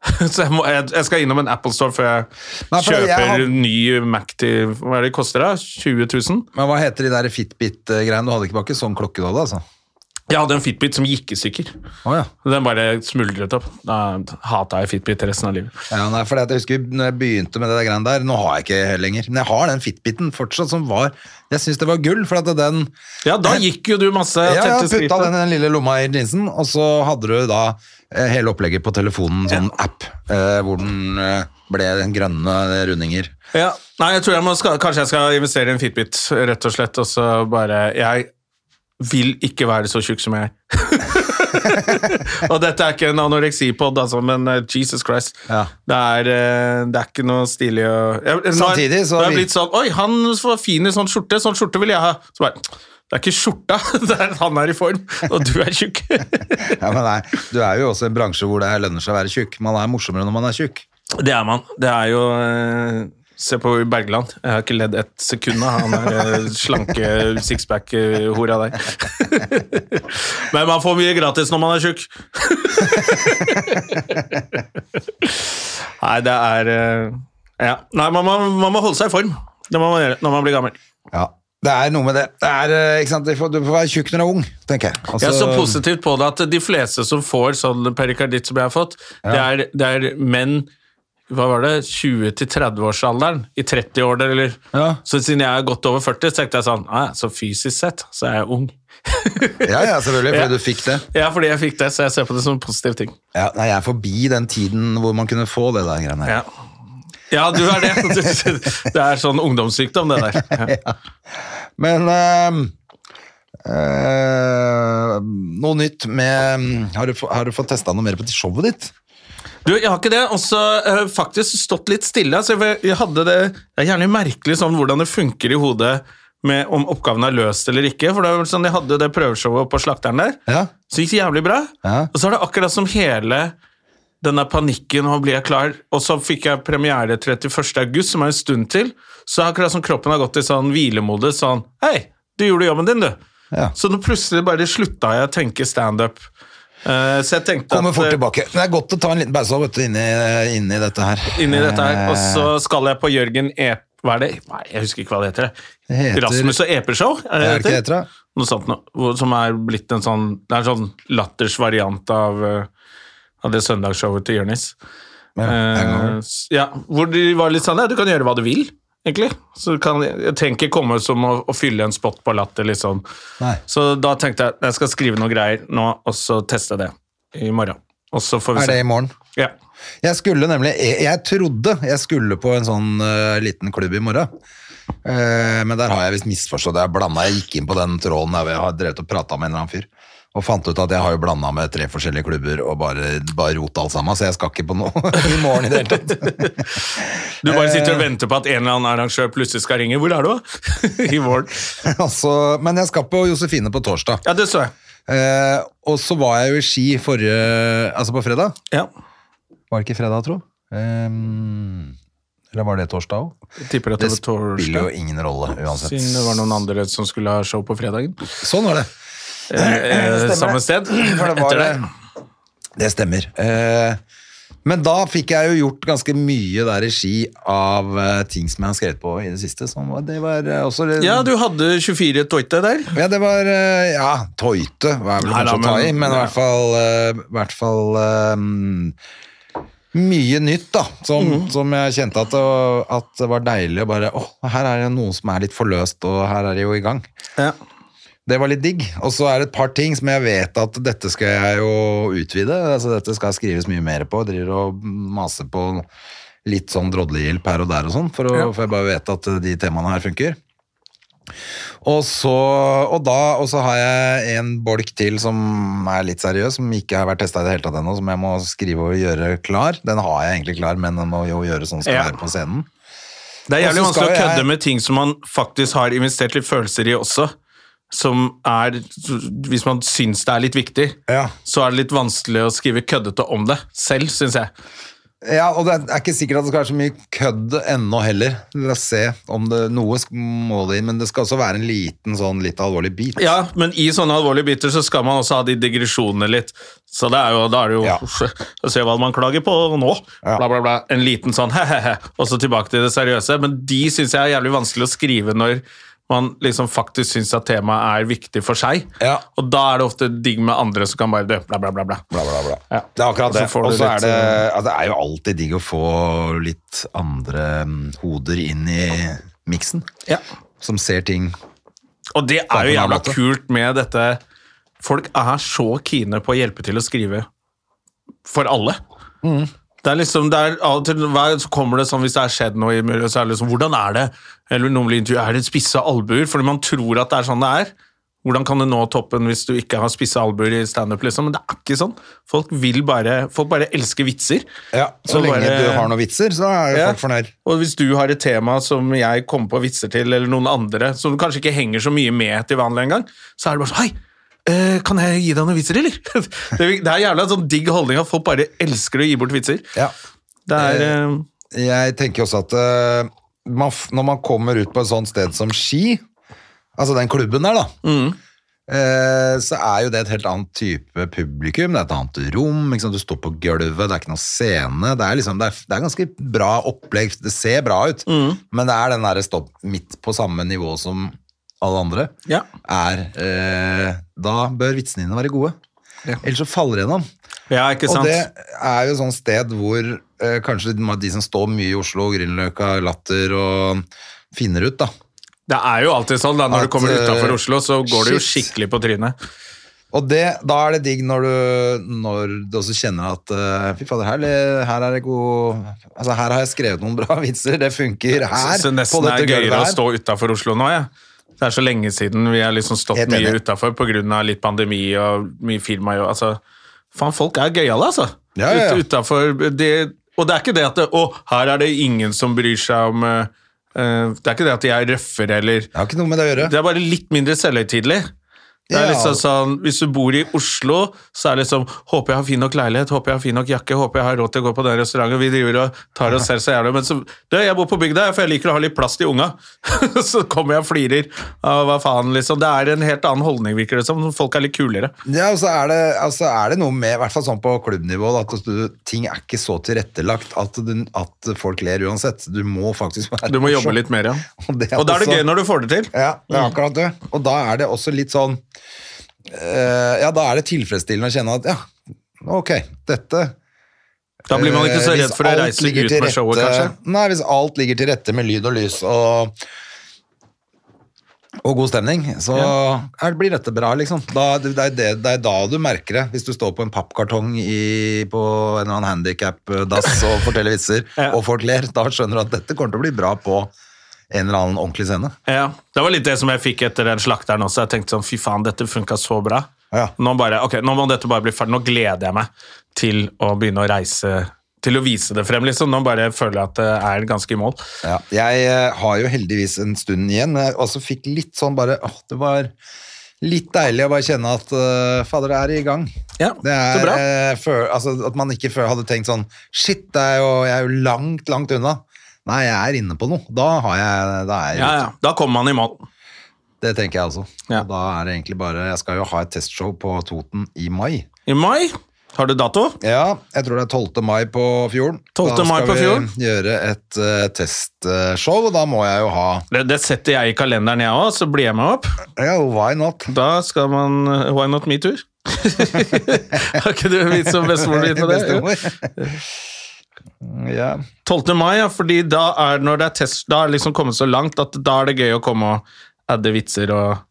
Så jeg, må, jeg, jeg skal innom en Apple Store før jeg Nei, for jeg kjøper har- ny Mac til Hva er det det koster, da? 20 000? Men hva heter de der Fitbit-greiene du hadde ikke bakke? Sånn klokke du hadde, altså? Jeg hadde en Fitbit som gikk i stykker. Å ja. Den bare smuldret opp. Da hata jeg Fitbit resten av livet. Ja, nei, for jeg husker når jeg begynte med det der greiene der, nå har jeg ikke lenger, men jeg har den Fitbiten fortsatt som var, jeg synes det var gull, for at den, Ja, da gikk jo du masse. ja, jeg tente putta skrittet. den i den lille lomma i jeansen, og så hadde du da eh, hele opplegget på telefonen, sånn app, eh, hvor den eh, ble den grønne rundinger. Ja, nei, jeg tror jeg må ska- Kanskje jeg skal investere i en Fitbit, rett og slett. Og så bare Jeg vil ikke være så tjukk som jeg er. og dette er ikke en anoreksipod, altså, men eh, Jesus Christ. Ja. Det, er, eh, det er ikke noe stilig å jeg, nå er- Samtidig så Nå er jeg vil- blitt sånn Oi, han var fin i sånn skjorte. Sånn skjorte vil jeg ha. Så bare Det er ikke skjorta, det er at han er i form, og du er tjukk. Ja, men nei, du er jo også i en bransje hvor det lønner seg å være tjukk, man er morsommere når man er tjukk. det er man. Det er jo eh, Se på Bergland. Jeg har ikke ledd ett sekund av han der eh, slanke sixpack-hora der. Men man får mye gratis når man er tjukk. Nei, det er eh, ja. Nei, man, må- man må holde seg i form. Det må man gjøre når man blir gammel. Ja, det er noe med det. Det er, eh, ikke sant, du får, du får være tjukk når du er ung, tenker jeg. Altså- Jeg er så positivt på det at de fleste som får sånn perikarditt som jeg har fått, det, er, det er menn hva var det, 20-30-årsalderen, i 30-årene, eller Ja. Så siden jeg er godt over 40, så tenkte jeg sånn «Nei, Så fysisk sett, så er jeg ung. Ja, ja, selvfølgelig, fordi Ja. du fikk det. Ja, fordi jeg fikk det, så jeg ser på det som en positiv ting. Ja, nei, jeg er forbi den tiden hvor man kunne få det der greiene. her. Ja, ja du er det. Du- Det er sånn ungdomssykdom, det der. Ja. Men ehm, eh, noe nytt med ehm, Har du, få- har du fått testa noe mer på showet ditt? Du, jeg har ikke det. Og så eh, faktisk stått litt stille. Altså, jeg, jeg hadde det, det er gjerne merkelig sånn hvordan det funker i hodet med om oppgaven er løst eller ikke. For det var vel sånn, jeg hadde det prøveshowet på Slakteren der. Ja. Så gikk det jævlig bra. Ja. Og så er det akkurat som hele den der panikken og blir jeg klar? Og så fikk jeg premiere 31. august, som er en stund til. Så er det akkurat som kroppen har gått i sånn hvilemodus. Sånn Hei, du gjorde jobben din, du. Ja. Så nå plutselig bare slutta jeg å tenke standup. Uh, så jeg tenkte Kommer at- fort tilbake. Men det er godt å ta en liten pause vet du, inni, inni dette her. inn i dette her. Og så Eh, skal jeg på Jørgen E... Hva er det? Nei, jeg husker ikke hva det heter. Det heter- Rasmus og Epershow? Er Eh, Er det ikke det heter, da? Noe sånt noe. Hvor- Som er blitt en sånn Det er en sånn latters variant av, eh, av det søndagsshowet til Jonis. Eh, hangover. s- ja, hvor de var litt sånn Ja, du kan gjøre hva du vil, egentlig. Så du kan, jeg tenker komme som å, å fylle en spot på latter, liksom. Nei. Så da tenkte jeg jeg skal skrive noen greier nå, og så teste det i morgen. Og så får vi Er det i morgen? Ja. Jeg skulle nemlig Jeg, jeg trodde jeg skulle på en sånn eh, liten klubb i morgen. Eh, men der har jeg visst misforstått. Jeg blanda, jeg gikk inn på den tråden der hvor jeg har drevet og prata med en eller annen fyr. Og fant ut at jeg har jo blanda med tre forskjellige klubber og bare, bare rota alt sammen, så jeg skal ikke på noe i morgen i det hele tatt. Du bare sitter og venter på at en eller annen arrangør plutselig skal ringe. Hvor er du, da? I morgen. Altså, men jeg skal på Josefine på torsdag. Ja, det så jeg. Eh, og så var jeg jo i Ski forrige Altså på fredag. Ja, Var det ikke fredag, tro? Ehm, eller var det torsdag òg? jeg tipper at Det det var spiller jo torsdag. ingen rolle uansett. Siden det var noen andre som skulle ha show på fredagen. Sånn var det. Eh, samme sted. For det var Etter det. det. Det stemmer. Eh, men da fikk jeg jo gjort ganske mye der i Ski av eh, ting som jeg har skrevet på i det siste. Som, var- det var eh, også Ja, du hadde 24 toite der. Ja, det var eh, Ja, tøyte var vel Nei da, kanskje å ta i, men- men i hvert fall, eh, i hvert fall eh, mye nytt, da. Som, Mhm. som jeg kjente at det, var- at det var deilig å bare Å, her er det noe som er litt forløst, og her er det jo i gang. Ja. Det var litt digg. Og så er det et par ting som jeg vet at dette skal jeg jo utvide. altså Dette skal skrives mye mer på. Jeg driver og maser på litt sånn drodlehjelp her og der og sånn, for, å- for jeg bare vet at eh, de temaene her funker. Og så, og da, og så har jeg en bolk til som er litt seriøs, som ikke har vært testa i det hele tatt ennå, som jeg må skrive og gjøre klar. Den har jeg egentlig klar, men den må jo gjøres sånn som Ja. den er på scenen. Det er jævlig Og så skal vanskelig å jeg- kødde med ting som man faktisk har investert litt følelser i også. Som er Hvis man syns det er litt viktig, Ja. så er det litt vanskelig å skrive køddete om det selv, syns jeg. Ja, og det er ikke sikkert at det skal være så mye kødd ennå heller. La oss se om det noe sk- må det inn, men det skal også være en liten sånn litt alvorlig bit. Ja, men i sånne alvorlige biter så skal man også ha de digresjonene litt. Så det er jo, da er det jo Ja. Se hva man klager på nå. Ja. Bla, bla, bla. En liten sånn he-he-he, og så tilbake til det seriøse. Men de syns jeg er jævlig vanskelig å skrive når man liksom faktisk syns at temaet er viktig for seg. Ja. Og da er det ofte digg med andre som kan bare dø, bla, bla, bla. bla. Bla, bla, bla. Ja. Det er akkurat Så det. får du Og så litt, er eh, det ja, Det er jo alltid digg å få litt andre mm, hoder inn i miksen, Ja. som ser ting Og det på en er jo annen jævla måte. kult med dette Folk er så kine på å hjelpe til å skrive for alle. Mm. Det er liksom, det er av og til hver, så kommer det sånn hvis det har skjedd noe i miljøet, så er det liksom Hvordan er det? Eller noen blir intervjuet, er det spisse albuer? Fordi man tror at det er sånn det er. Hvordan kan du nå toppen hvis du ikke har spisse albuer i standup? Liksom? Men det er ikke sånn. Folk vil bare, folk bare elsker vitser. Ja, Så Og lenge bare- du har noen vitser, så er jo Ja. folk fornøyd. Og hvis du har et tema som jeg kommer på vitser til, eller noen andre, som du kanskje ikke henger så mye med til vanlig engang, så er det bare sånn Hei, eh, kan jeg gi deg noen vitser, eller? Det er, det er jævla sånn digg holdning at folk bare elsker å gi bort vitser. Ja. Det er eh, Jeg tenker også at eh, man, f- når man kommer ut på et sånt sted som Ski, altså den klubben der da, Mm. eh, så er jo det et helt annet type publikum, det er et annet rom, ikke sant? du står på gulvet, det er ikke noe scene, det er, liksom, det er, det er ganske bra opplegg, det ser bra ut, Mm. men det er den der stopp midt på samme nivå som alle andre, Ja. er, eh, da bør vitsene dine være gode. Ja. Ellers så faller det gjennom. Ja, ikke sant? Og det er jo et sånt sted hvor eh, kanskje de de som står mye i Oslo, Grünerløkka, Latter og finner ut, da. Det er jo alltid sånn da, når At, du kommer eh, utafor Oslo, så går det jo shit. skikkelig på trynet. Og det, da er det digg når du, når du også kjenner at eh, fy fader, her, le- her er det god Altså, her har jeg skrevet noen bra vitser, det funker her. så nesten på er dette gøyere å gulvet her. stå utafor Oslo nå, jeg. Det er så lenge siden vi har liksom stått Helt mye enig. utafor pga. litt pandemi og mye firma. jo, Altså, faen, folk er gøyale, altså. Ja, ja, ja. Ut- utenfor det, og det er ikke det at det, Å, her er det ingen som bryr seg om eh, eh, Det er ikke det at de er røffere eller Det har ikke noe med det å gjøre. Det er bare litt mindre selvhøytidelig. Det er Ja. liksom sånn, Hvis du bor i Oslo, så er det liksom 'Håper jeg har fin nok leilighet, håper jeg har fin nok jakke, håper jeg har råd til å gå på den restauranten.' Vi driver og tar oss selv så jævlig, men så du, 'Jeg bor på bygda, for jeg liker å ha litt plass til unga.' så kommer jeg og flirer av hva faen, liksom. Det er en helt annen holdning, virker det som. Folk er litt kulere. Ja, og så er det, altså er det noe med, i hvert fall sånn på klubbnivå, da, at du, ting er ikke så tilrettelagt at, du, at folk ler uansett. Du må faktisk være Du må jobbe morsom. litt mer, ja. Og det er Og da er det også- gøy når du får det til. Ja, det er akkurat det. Og da er det også litt sånn eh, Ja, da er det tilfredsstillende å kjenne at ja, ok, dette Da blir man ikke så eh, hvis redd for å alt reise ligger ut til med showet, rette- kanskje. Nei, hvis alt ligger til rette med lyd og lys og og god stemning, så er, blir dette bra, liksom. Da, det, det, er det, det er da du merker det. Hvis du står på en pappkartong i, på en eller annen handikap-dass og forteller vitser, Ja. og folk ler, da skjønner du at dette kommer til å bli bra på en eller annen ordentlig scene. Ja, Det var litt det som jeg fikk etter den slakteren også. Jeg tenkte sånn, fy faen, dette funka så bra. Ja. Nå, bare, ok, nå må dette bare bli ferdig. Nå gleder jeg meg til å begynne å reise Til å vise det frem, liksom. Nå bare føler jeg at det er ganske i mål. Ja, jeg eh, har jo heldigvis en stund igjen, men jeg også fikk litt sånn bare åh, Det var litt deilig å bare kjenne at eh, fader, det er i gang. Ja, det er, så bra. eh, før- altså, at man ikke før hadde tenkt sånn Shit, det er jo, jeg er jo langt, langt unna. Nei, jeg er inne på noe. Da har jeg da er jeg, Ja, ja. Da kommer man i mål. Det tenker jeg altså. Ja. Og da er det egentlig bare Jeg skal jo ha et testshow på Toten i mai. I mai har du dato. Ja, jeg tror det er 12. mai på fjorden. 12. Da mai skal på vi fjorden. gjøre et eh, testshow, og da må jeg jo ha Det, det setter jeg i kalenderen, jeg òg, så blir jeg med opp. Ja, why not? Da skal man uh, Why not me too? Har ikke du en vits om bestemoren din med det? Bestemor. ja. 12. mai, ja, fordi da er når det er test, da er det liksom kommet så langt at da er det gøy å komme og adde vitser og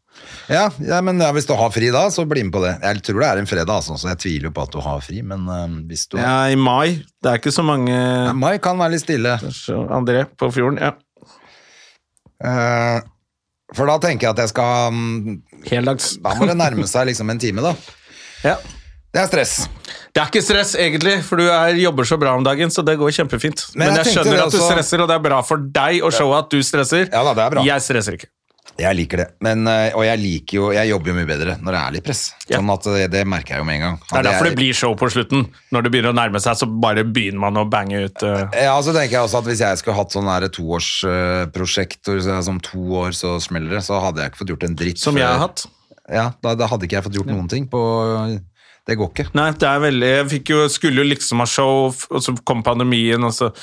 Ja, ja, men ja, hvis du har fri da, så bli med på det. Jeg tror det er en fredag, altså, så jeg tviler jo på at du har fri, men eh, hvis du har Ja, i mai. Det er ikke så mange Ja, Mai kan være litt stille, Så André på fjorden. Ja. Eh, for da tenker jeg at jeg skal mm, Heldags. Da må det nærme seg liksom en time, da. Ja. Det er stress. Det er ikke stress, egentlig, for du er, jobber så bra om dagen, så det går kjempefint. Men jeg Men, jeg tenkte skjønner det at du også- stresser, og det er bra for deg å showe at du stresser. Ja da, det er bra. Jeg stresser ikke. Jeg liker det, men, eh, og jeg liker jo Jeg jobber jo mye bedre når det er litt press. Ja. Sånn at eh, Det merker jeg jo med en gang. Det er Hadde derfor jeg- det blir show på slutten. Når det begynner å nærme seg, så bare begynner man å bange ut. eh, Ja, så tenker jeg også at Hvis jeg skulle hatt sånn her eh, toårsprosjekt, hvor det er som to år så smeller det, så hadde jeg ikke fått gjort en dritt. som før- jeg har hatt. Ja, da, da hadde ikke jeg fått gjort noen ting på Det går ikke. Nei, det er veldig Jeg fikk jo, skulle jo liksom ha show, f- og så kom pandemien, og så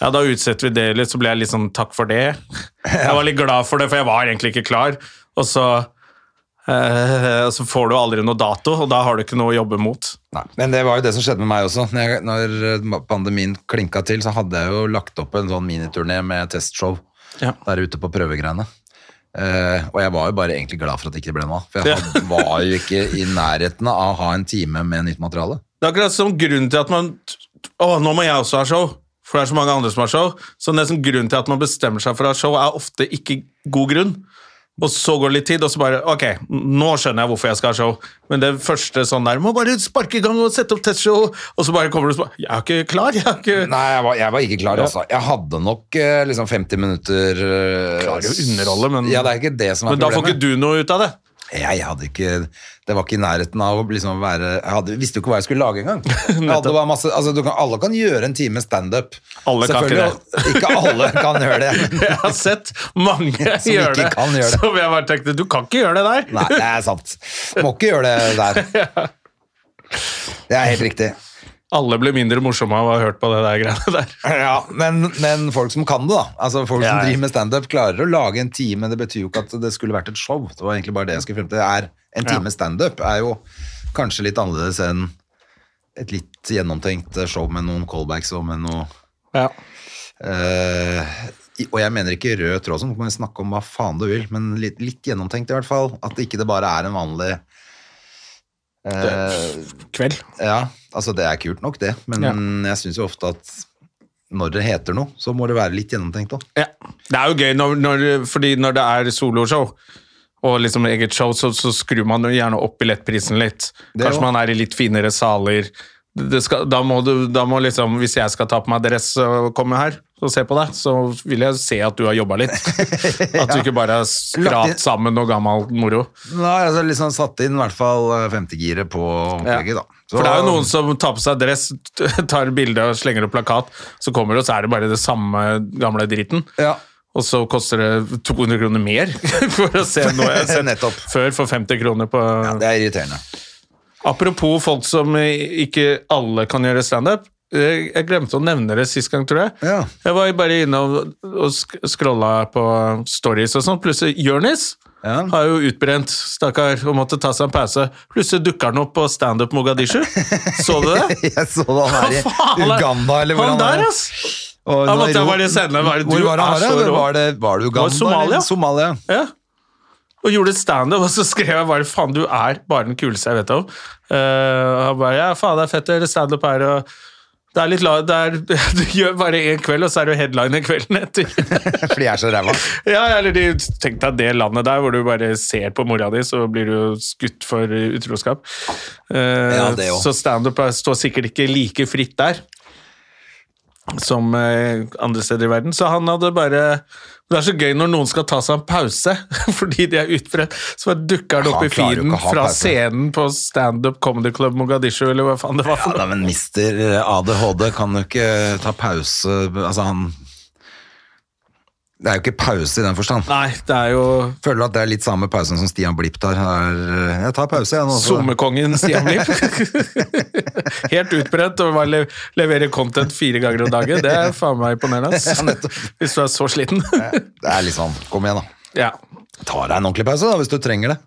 Ja, da utsetter vi det litt, så ble jeg litt sånn takk for det. Jeg var litt glad for det, for jeg var egentlig ikke klar. Og så eh, og så får du aldri noe dato, og da har du ikke noe å jobbe mot. Nei. Men det var jo det som skjedde med meg også. Når, jeg, når eh, pandemien klinka til, så hadde jeg jo lagt opp en sånn miniturné med testshow Ja. der ute på prøvegreiene. Eh, og jeg var jo bare egentlig glad for at det ikke ble noe av. For jeg hadde, var jo ikke i nærheten av å ha en time med nytt materiale. Det er akkurat som grunnen til at man Å, nå må jeg også ha show. For det er så mange andre som har show. Så nesten grunnen til at man bestemmer seg for å ha show, er ofte ikke god grunn. Og så går det litt tid, og så bare Ok, nå skjønner jeg hvorfor jeg skal ha show. Men det første sånn der Må bare sparke i gang og sette opp testshow. Og så bare kommer du og spør Jeg er ikke klar. Jeg er ikke Nei, jeg var, jeg var ikke klar, altså. Jeg hadde nok eh, liksom 50 minutter eh, Klarer jo å underholde, men- Ja, det er ikke det som er Men da får ikke problemet. du noe ut av det. Jeg hadde ikke Det var ikke i nærheten av å liksom være Jeg hadde, visste jo ikke hva jeg skulle lage engang. Jeg hadde bare masse Altså, du kan, alle kan gjøre en time standup. Alle kan ikke Selvfølgelig, Ikke alle kan gjøre det. Jeg har sett mange Som gjøre ikke det. kan gjøre det. Som jeg bare tenkte Du kan ikke gjøre det der. Nei, det er sant. Må ikke gjøre det der. Det er helt riktig. Alle ble mindre morsomme av å ha hørt på det der greiene der. Ja, men, men folk som kan det, da. Altså Folk Ja, som ja. driver med standup, klarer å lage en time. Det betyr jo ikke at det skulle vært et show. Det var egentlig bare det jeg skulle frem til. Det er, en time standup er jo kanskje litt annerledes enn et litt gjennomtenkt show med noen callbacks og med noe Ja. Eh, i- og jeg mener ikke rød tråd, sånn, du kan snakke om hva faen du vil, men litt, litt gjennomtenkt i hvert fall. At ikke det bare er en vanlig eh, Kveld. Ja, altså det er kult nok, det, men jeg syns jo ofte at når det heter noe, så må det være litt gjennomtenkt òg. Ja. Det er jo gøy, når, når, fordi når det er soloshow og liksom eget show, så, så skrur man jo gjerne opp billettprisen litt. Det Kanskje jo. man er i litt finere saler. Det skal, da, må du, da må liksom, Hvis jeg skal ta på meg dress og komme her og se på deg, så vil jeg se at du har jobba litt. At du ikke bare har Lagt inn- skrapt sammen noe gammel moro. Nei, altså liksom satt inn i hvert fall eh, femtegiret på opplegget, da. Så- For det er jo noen som tar på seg dress, t- tar bilde og slenger opp plakat, så kommer det, og så er det bare det samme gamle driten. ja. Og så koster det 200 kroner mer for å se noe jeg har sett Nettopp. før for 50 kroner på ja, det er irriterende. Apropos folk som ikke alle kan gjøre standup. eh, Jeg glemte å nevne det sist gang, tror jeg. Ja. Jeg var bare inne og, og sk- scrolla på stories og sånn. Plutselig Jonis Ja. har jo utbrent, stakkar, og måtte ta seg en pause. Plutselig dukker han opp på standup Mogadishu. Så du det? Jeg så det han er i Uganda, eller hvor han, der, er. ass! Og Da nå i måtte jeg Ro- bare sende, bare, Hvor du var han er her, så da? rå. Var det, var det Uganda? Somalia. eller? Somalia. Ja. Og gjorde standup, og så skrev jeg bare 'faen, du er bare den kuleste jeg vet om'. Eh, og han bare 'ja, faen, det er fett å gjøre standup her', og Det er litt la, det er, Du gjør bare én kveld, og så er du headliner kvelden etter. Fordi jeg er så ræva. Ja, eller de, Tenk deg det landet der hvor du bare ser på mora di, så blir du jo skutt for utroskap. Eh, Ja, det også. så standup er- står sikkert ikke like fritt der som eh, andre steder i verden. Så han hadde bare Det er så gøy når noen skal ta seg en pause fordi de er utbrent, så bare dukker han opp Han i klarer jo feeden ikke å ha fra pause. scenen på standup comedy club Mogadishu, eller hva faen det var. Ja, for da, noe. men mister eh, ADHD kan jo ikke ta pause Altså, han Det er jo ikke pause i den forstand. Nei, det er jo Føler du at det er litt samme pausen som Stian Blipp tar? Han er, Jeg tar pause, jeg nå. så- Sommerkongen Stian Blipp. Helt utbredt og bare le- leverer content fire ganger om dagen. Det er faen meg imponerende. ass. Hvis du er så sliten. Det er litt sånn, kom igjen, da. Ja. Ta deg en ordentlig pause, da, hvis du trenger det.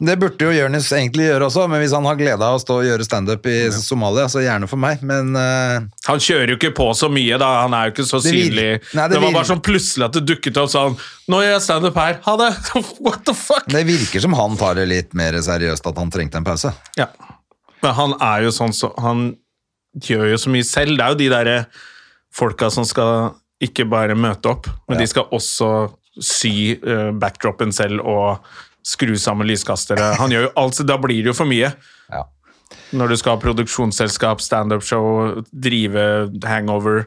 Det burde jo Jonis egentlig gjøre også, men hvis han har glede av å stå og gjøre standup i Somalia, så gjerne for meg, men eh, Han kjører jo ikke på så mye, da. Han er jo ikke så Det vir- synlig. Nei, det det, var vir- bare sånn plutselig at det dukket opp sånn Nå gjør jeg standup her. Ha det! What the fuck? det virker som han tar det litt mer seriøst at han trengte en pause. Ja. Men han er jo sånn så, Han gjør jo så mye selv. Det er jo de derre folka som skal ikke bare møte opp, men de skal også sy eh, backdropen selv og skru sammen lyskastere. Han gjør jo alt, så da blir det jo for mye. Ja. Når du skal ha produksjonsselskap, standup-show, drive hangover.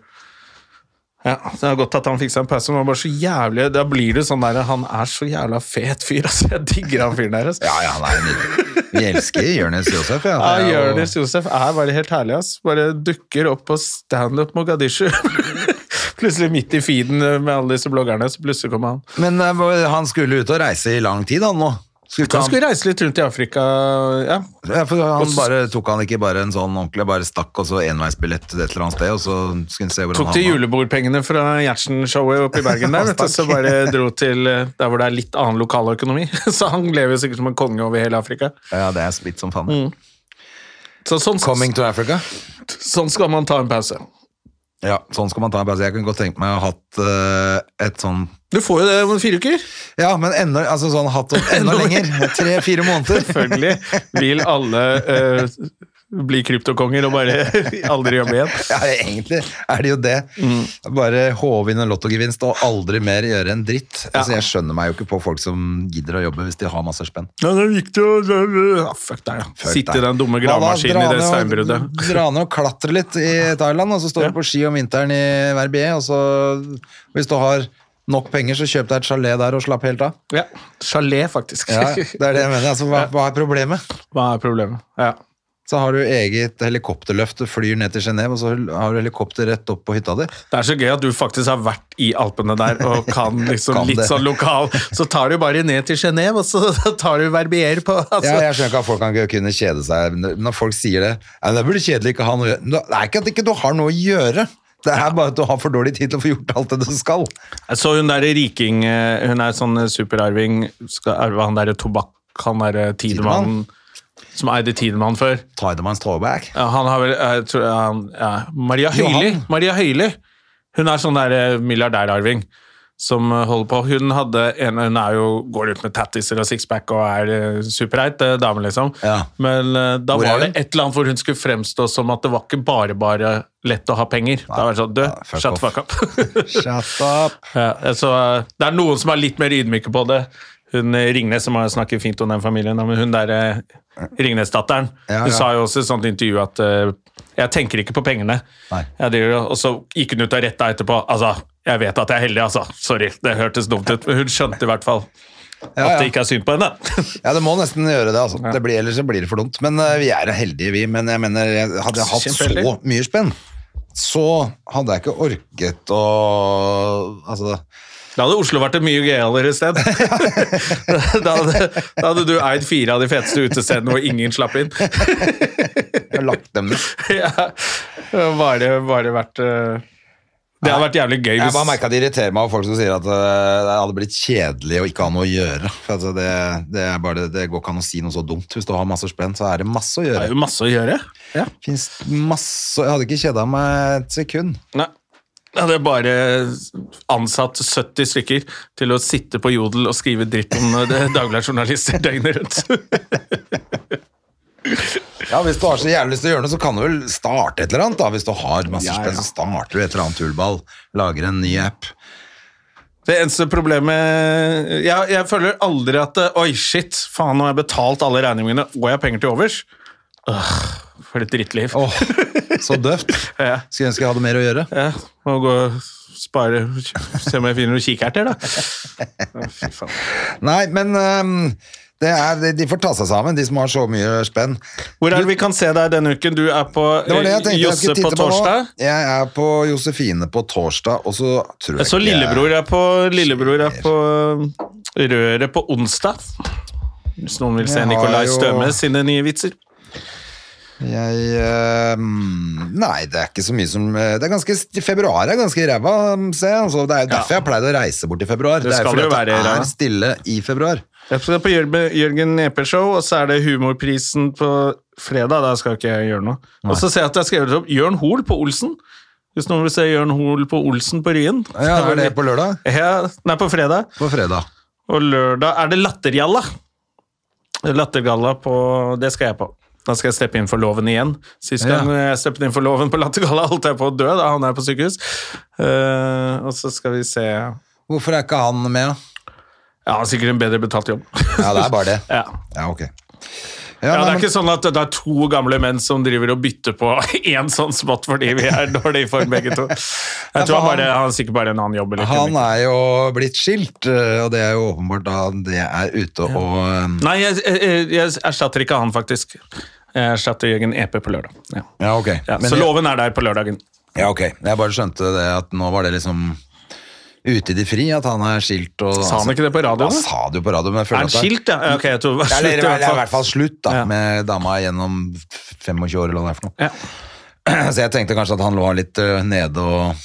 Ja, Det er godt at han fikk seg en pause, men han var bare så jævlig Da blir det sånn der, Han er så jævla fet fyr, altså. Jeg digger han fyren der. Altså. Ja, ja, han er nydelig. Vi elsker Jonis Josef, ja. Ja, Det er jo- Jonis Josef er bare helt herlig, ass. Bare dukker opp på standup Mogadishu. plutselig midt i feeden med alle disse bloggerne, så plutselig kommer han. Men eh, hva- han skulle ut og reise i lang tid, han nå. Skulle ikke Han skulle reise litt rundt i Afrika, ja. ja, for Og han så- bare, tok han ikke bare en sånn ordentlig, bare stakk og så enveisbillett til et eller annet sted, og så skulle han se hvordan Tok han til var. julebordpengene fra Gjertsen-showet oppe i Bergen der, vet du. Så bare dro til eh, der hvor det er litt annen lokaløkonomi. Så han lever jo sikkert som en konge over hele Afrika. Ja, det er splitt som faen. Mm. Så sånn, Coming to Africa? sånn skal man ta en pause. Ja, sånn skal man ta en pause. Jeg kunne godt tenkt meg å ha hatt eh, et sånn Du får jo det om fire uker. Ja, men enda, altså sånn hatt opp enda lenger. Tre-fire måneder. Selvfølgelig vil alle eh, bli kryptokonger og bare aldri jobbe igjen. Ja, egentlig er det jo det. Mm. Bare håve inn en lottogevinst og aldri mer gjøre en dritt. Altså, jeg skjønner meg jo ikke på folk som gidder å jobbe hvis de har masse spenn. Ja, det er viktig å ah, Fuck deg, ja. Fuck Sitte i deg. den dumme Ja, da, gravemaskinen dra i det ned og- steinbruddet. Dra ned og klatre litt i Thailand, og så står du på ski om vinteren i Verbier, og så hvis du har nok penger, så kjøp deg et chalet der og slapp helt av. Ja. Chalet, faktisk. Ja, det er det jeg mener. Altså, hva, hva er problemet? Hva er problemet? Ja. Så har du eget helikopterløft, du flyr ned til Genéve, og så har du helikopter rett opp på hytta di. Det er så gøy at du faktisk har vært i Alpene der og kan liksom Kan litt det. sånn lokal. Så tar du bare ned til Genéve, og så tar du Verbier på altså. Ja, jeg skjønner ikke at folk kan ikke kunne kjede seg. Når folk sier det, ja, det blir kjedelig ikke å ha noe å gjøre. Det er ikke at ikke du har noe å gjøre. Det er bare at du har for dårlig tid til å få gjort alt det du skal. Jeg så hun der riking eh, Hun er sånn eh, superarving. Skal arve han derre tobakk, han derre Tidemann. Som eide Tidemann før. Tidemanns throwback. Ja, han har vel jeg tror, han, ja. Maria Høili. Johan. Maria Høili. Hun er sånn der eh, milliardærarving som eh, holder på. Hun hadde en Hun er jo, går ut med tattiser og sixpack og er eh, superheit eh, dame, liksom. Ja. Men eh, da Hvor er var det hun? et eller annet hvor hun skulle fremstå som at det var ikke bare bare lett å ha penger. Da var det sånn, du, Ja, fuck shut off. fuck up. Shut up. Ja, altså, det er noen som er litt mer ydmyke på det. Hun eh, Ringnes, som har snakket fint om den familien, men hun der eh, Ringnes-datteren, Ja, hun ja. sa jo også i et sånt intervju at eh, jeg tenker ikke på pengene. Nei. Jeg driver jo- og så gikk hun ut og retta etterpå. Altså, jeg vet at jeg er heldig, altså. Sorry, det hørtes dumt ut, men hun skjønte i hvert fall Ja, at ja. det ikke er synd på henne. ja, det må nesten gjøre det, altså. Det blir, ellers så blir det for dumt. Men eh, vi er heldige, vi. Men jeg mener, jeg hadde jeg hatt så Kjempeheldig. mye spenn, så hadde jeg ikke orket å Altså Da hadde Oslo vært et mye gøyere sted. da, hadde, da hadde du eid fire av de feteste utestedene hvor ingen slapp inn. Jeg har lagt dem ned. ja. Bare, bare vært eh, Det hadde vært jævlig gøy Jeg hvis bare merker at det irriterer meg av folk som sier at eh, det hadde blitt kjedelig å ikke ha noe å gjøre. For altså, det, det, er bare, det går ikke an å si noe så dumt. Hvis du har masse spenn, så er det masse å Det er gjøre. jo masse å gjøre. Finnes masse, jeg hadde ikke kjeda meg et sekund. Nei. Jeg hadde bare ansatt 70 stykker til å sitte på Jodel og skrive dritt om eh, det- Dagbladet Journalister døgnet rundt. Ja, Hvis du har så jævlig lyst til å gjøre noe, så kan du vel starte et eller annet. da. Hvis du har masse Ja, ja. spenn, så starter du et eller annet tullball. Lager en ny app. Det eneste problemet Jeg, jeg føler aldri at eh, Oi, shit, faen, nå har jeg betalt alle regningene mine, og jeg har penger til overs. Øh, for et drittliv. Åh, så døvt. Ja. Skulle ønske jeg hadde mer å gjøre. Ja, må gå og spare Se om jeg finner noen kikerter, da. Å, Fy faen. Nei, men øhm, det er, de- de får ta seg sammen, de som har så mye spenn. Hvor er det vi kan se deg denne uken? Du er på Det var det jeg eh, tenkte jeg Josse skulle titte på på, torsdag. nå. Jeg er på Josefine på torsdag, og så tror jeg Jeg så ikke lillebror er på, lillebror er Skjer. på eh, Røret på onsdag. Hvis noen vil se Jeg har Nicolai jo- Støme sine nye vitser. Jeg, øhm, nei, det er ikke så mye som eh, det er ganske, Februar er ganske ræva, se. Altså, det er jo derfor jeg pleide å reise bort i februar. Det er jo skal fordi det jo at være, det Reidar. er stille i februar. Jeg skal på Jørgen Jørgen Nepe-show, og så er det Humorprisen på fredag. Der skal ikke jeg gjøre noe. Og så ser jeg at jeg har skrevet opp Jørn Hoel på Olsen. Hvis noen vil se Jørn Hoel på Olsen på Ryen. Ja, Er det på lørdag? Ja, nei, på fredag. På fredag. Og lørdag er det Lattergalla. Lattergalla på Det skal jeg på. Da skal jeg steppe inn for loven igjen. Sist Ja. gang jeg steppet inn for loven på Lattergalla, holdt jeg på å dø da han er på sykehus. Eh, og så skal vi se Ja, Hvorfor er ikke han med? da? han har sikkert en bedre betalt jobb. Ja, det er bare det. ja. Ja, ok. Ja, nei, Det er men- ikke sånn at det er to gamle menn som driver og bytter på én sånn spot fordi vi er dårlige i form, begge to. Jeg for tror han, han- bare, han har sikkert bare en annen jobb. Eller Han komiker. er jo blitt skilt, eh, og det er jo åpenbart da det er ute og eh, Nei, jeg, jeg, jeg erstatter ikke han, faktisk. Jeg erstatter Jørgen EP på lørdag. Ja. Ja, ok. Ja, Men så jeg- loven er der på lørdagen. ja, ok. Jeg bare skjønte det at nå var det liksom ute i det fri at han er skilt og Sa han ikke det på radioen? Han da? sa det jo på radioen, men jeg Er føler at han det skilt, ja? Ja, Ok, jeg tror det var Ja, slutt. Eller i hvert eller i fall. hvert fall slutt da, Ja. med dama gjennom 25 år eller hva det er for noe. Ja. Så jeg tenkte kanskje at han lå litt eh, nede og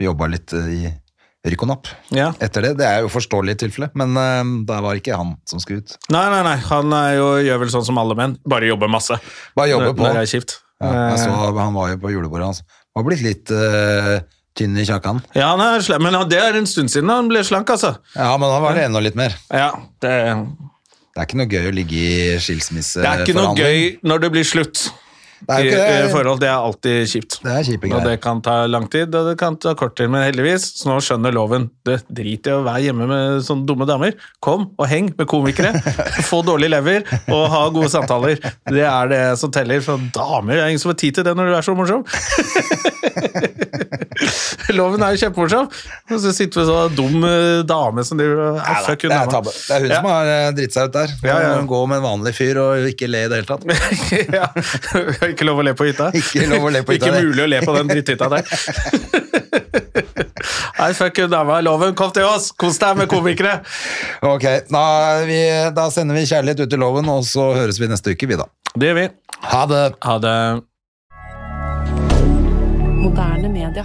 jobba litt eh, i rykk og napp. Ja. Etter det, det er jo forståelig tilfelle, men eh, da var ikke han som skulle ut. Nei, nei, nei. Han er jo, gjør vel sånn som alle menn. Bare jobber masse. Bare jobbe Når- på. Når det er Eh, kjipt. Ja, jeg så, han var jo på julebordet hans. Han var blitt litt eh, tynn i kjakan. Ja, han er slem. Men ja, det er en stund siden han ble slank, altså. Ja, men han var det enda litt mer. Ja, det, Det er ikke noe gøy å ligge i skilsmisse. det er ikke noe gøy når det blir slutt. eh, Det er I, jo ikke i det. forhold, det er alltid kjipt. Det er kjipe Og det greier. kan ta lang tid, og det kan ta kort tid, men heldigvis, så nå skjønner loven. Det driter i å være hjemme med sånne dumme damer. Kom og heng med komikere. Få dårlig lever og ha gode samtaler. Det er det som teller. For damer, det er ingen som har tid til det når du er så morsom. loven er jo kjempemorsom, og så sitter vi sånn en dum eh, dame som driver og Nei, ah, nei, fuck hun det, er dama. tabbe. det er hun Ja. som har eh, dritt seg ut der. Ja, ja. Hun går med en vanlig fyr og ikke le i det hele tatt. ja. Ikke lov å le på hytta? Ikke lov å le på hytta, Ikke det. mulig å le på den dritthytta der. Nei, fuck you, dama. Loven, kom til oss! Kos deg med komikere! Ok, da, er vi, da sender vi kjærlighet ut i loven, og så høres vi neste uke, vi da. Det gjør vi. Ha det! Ha det. Moderne media.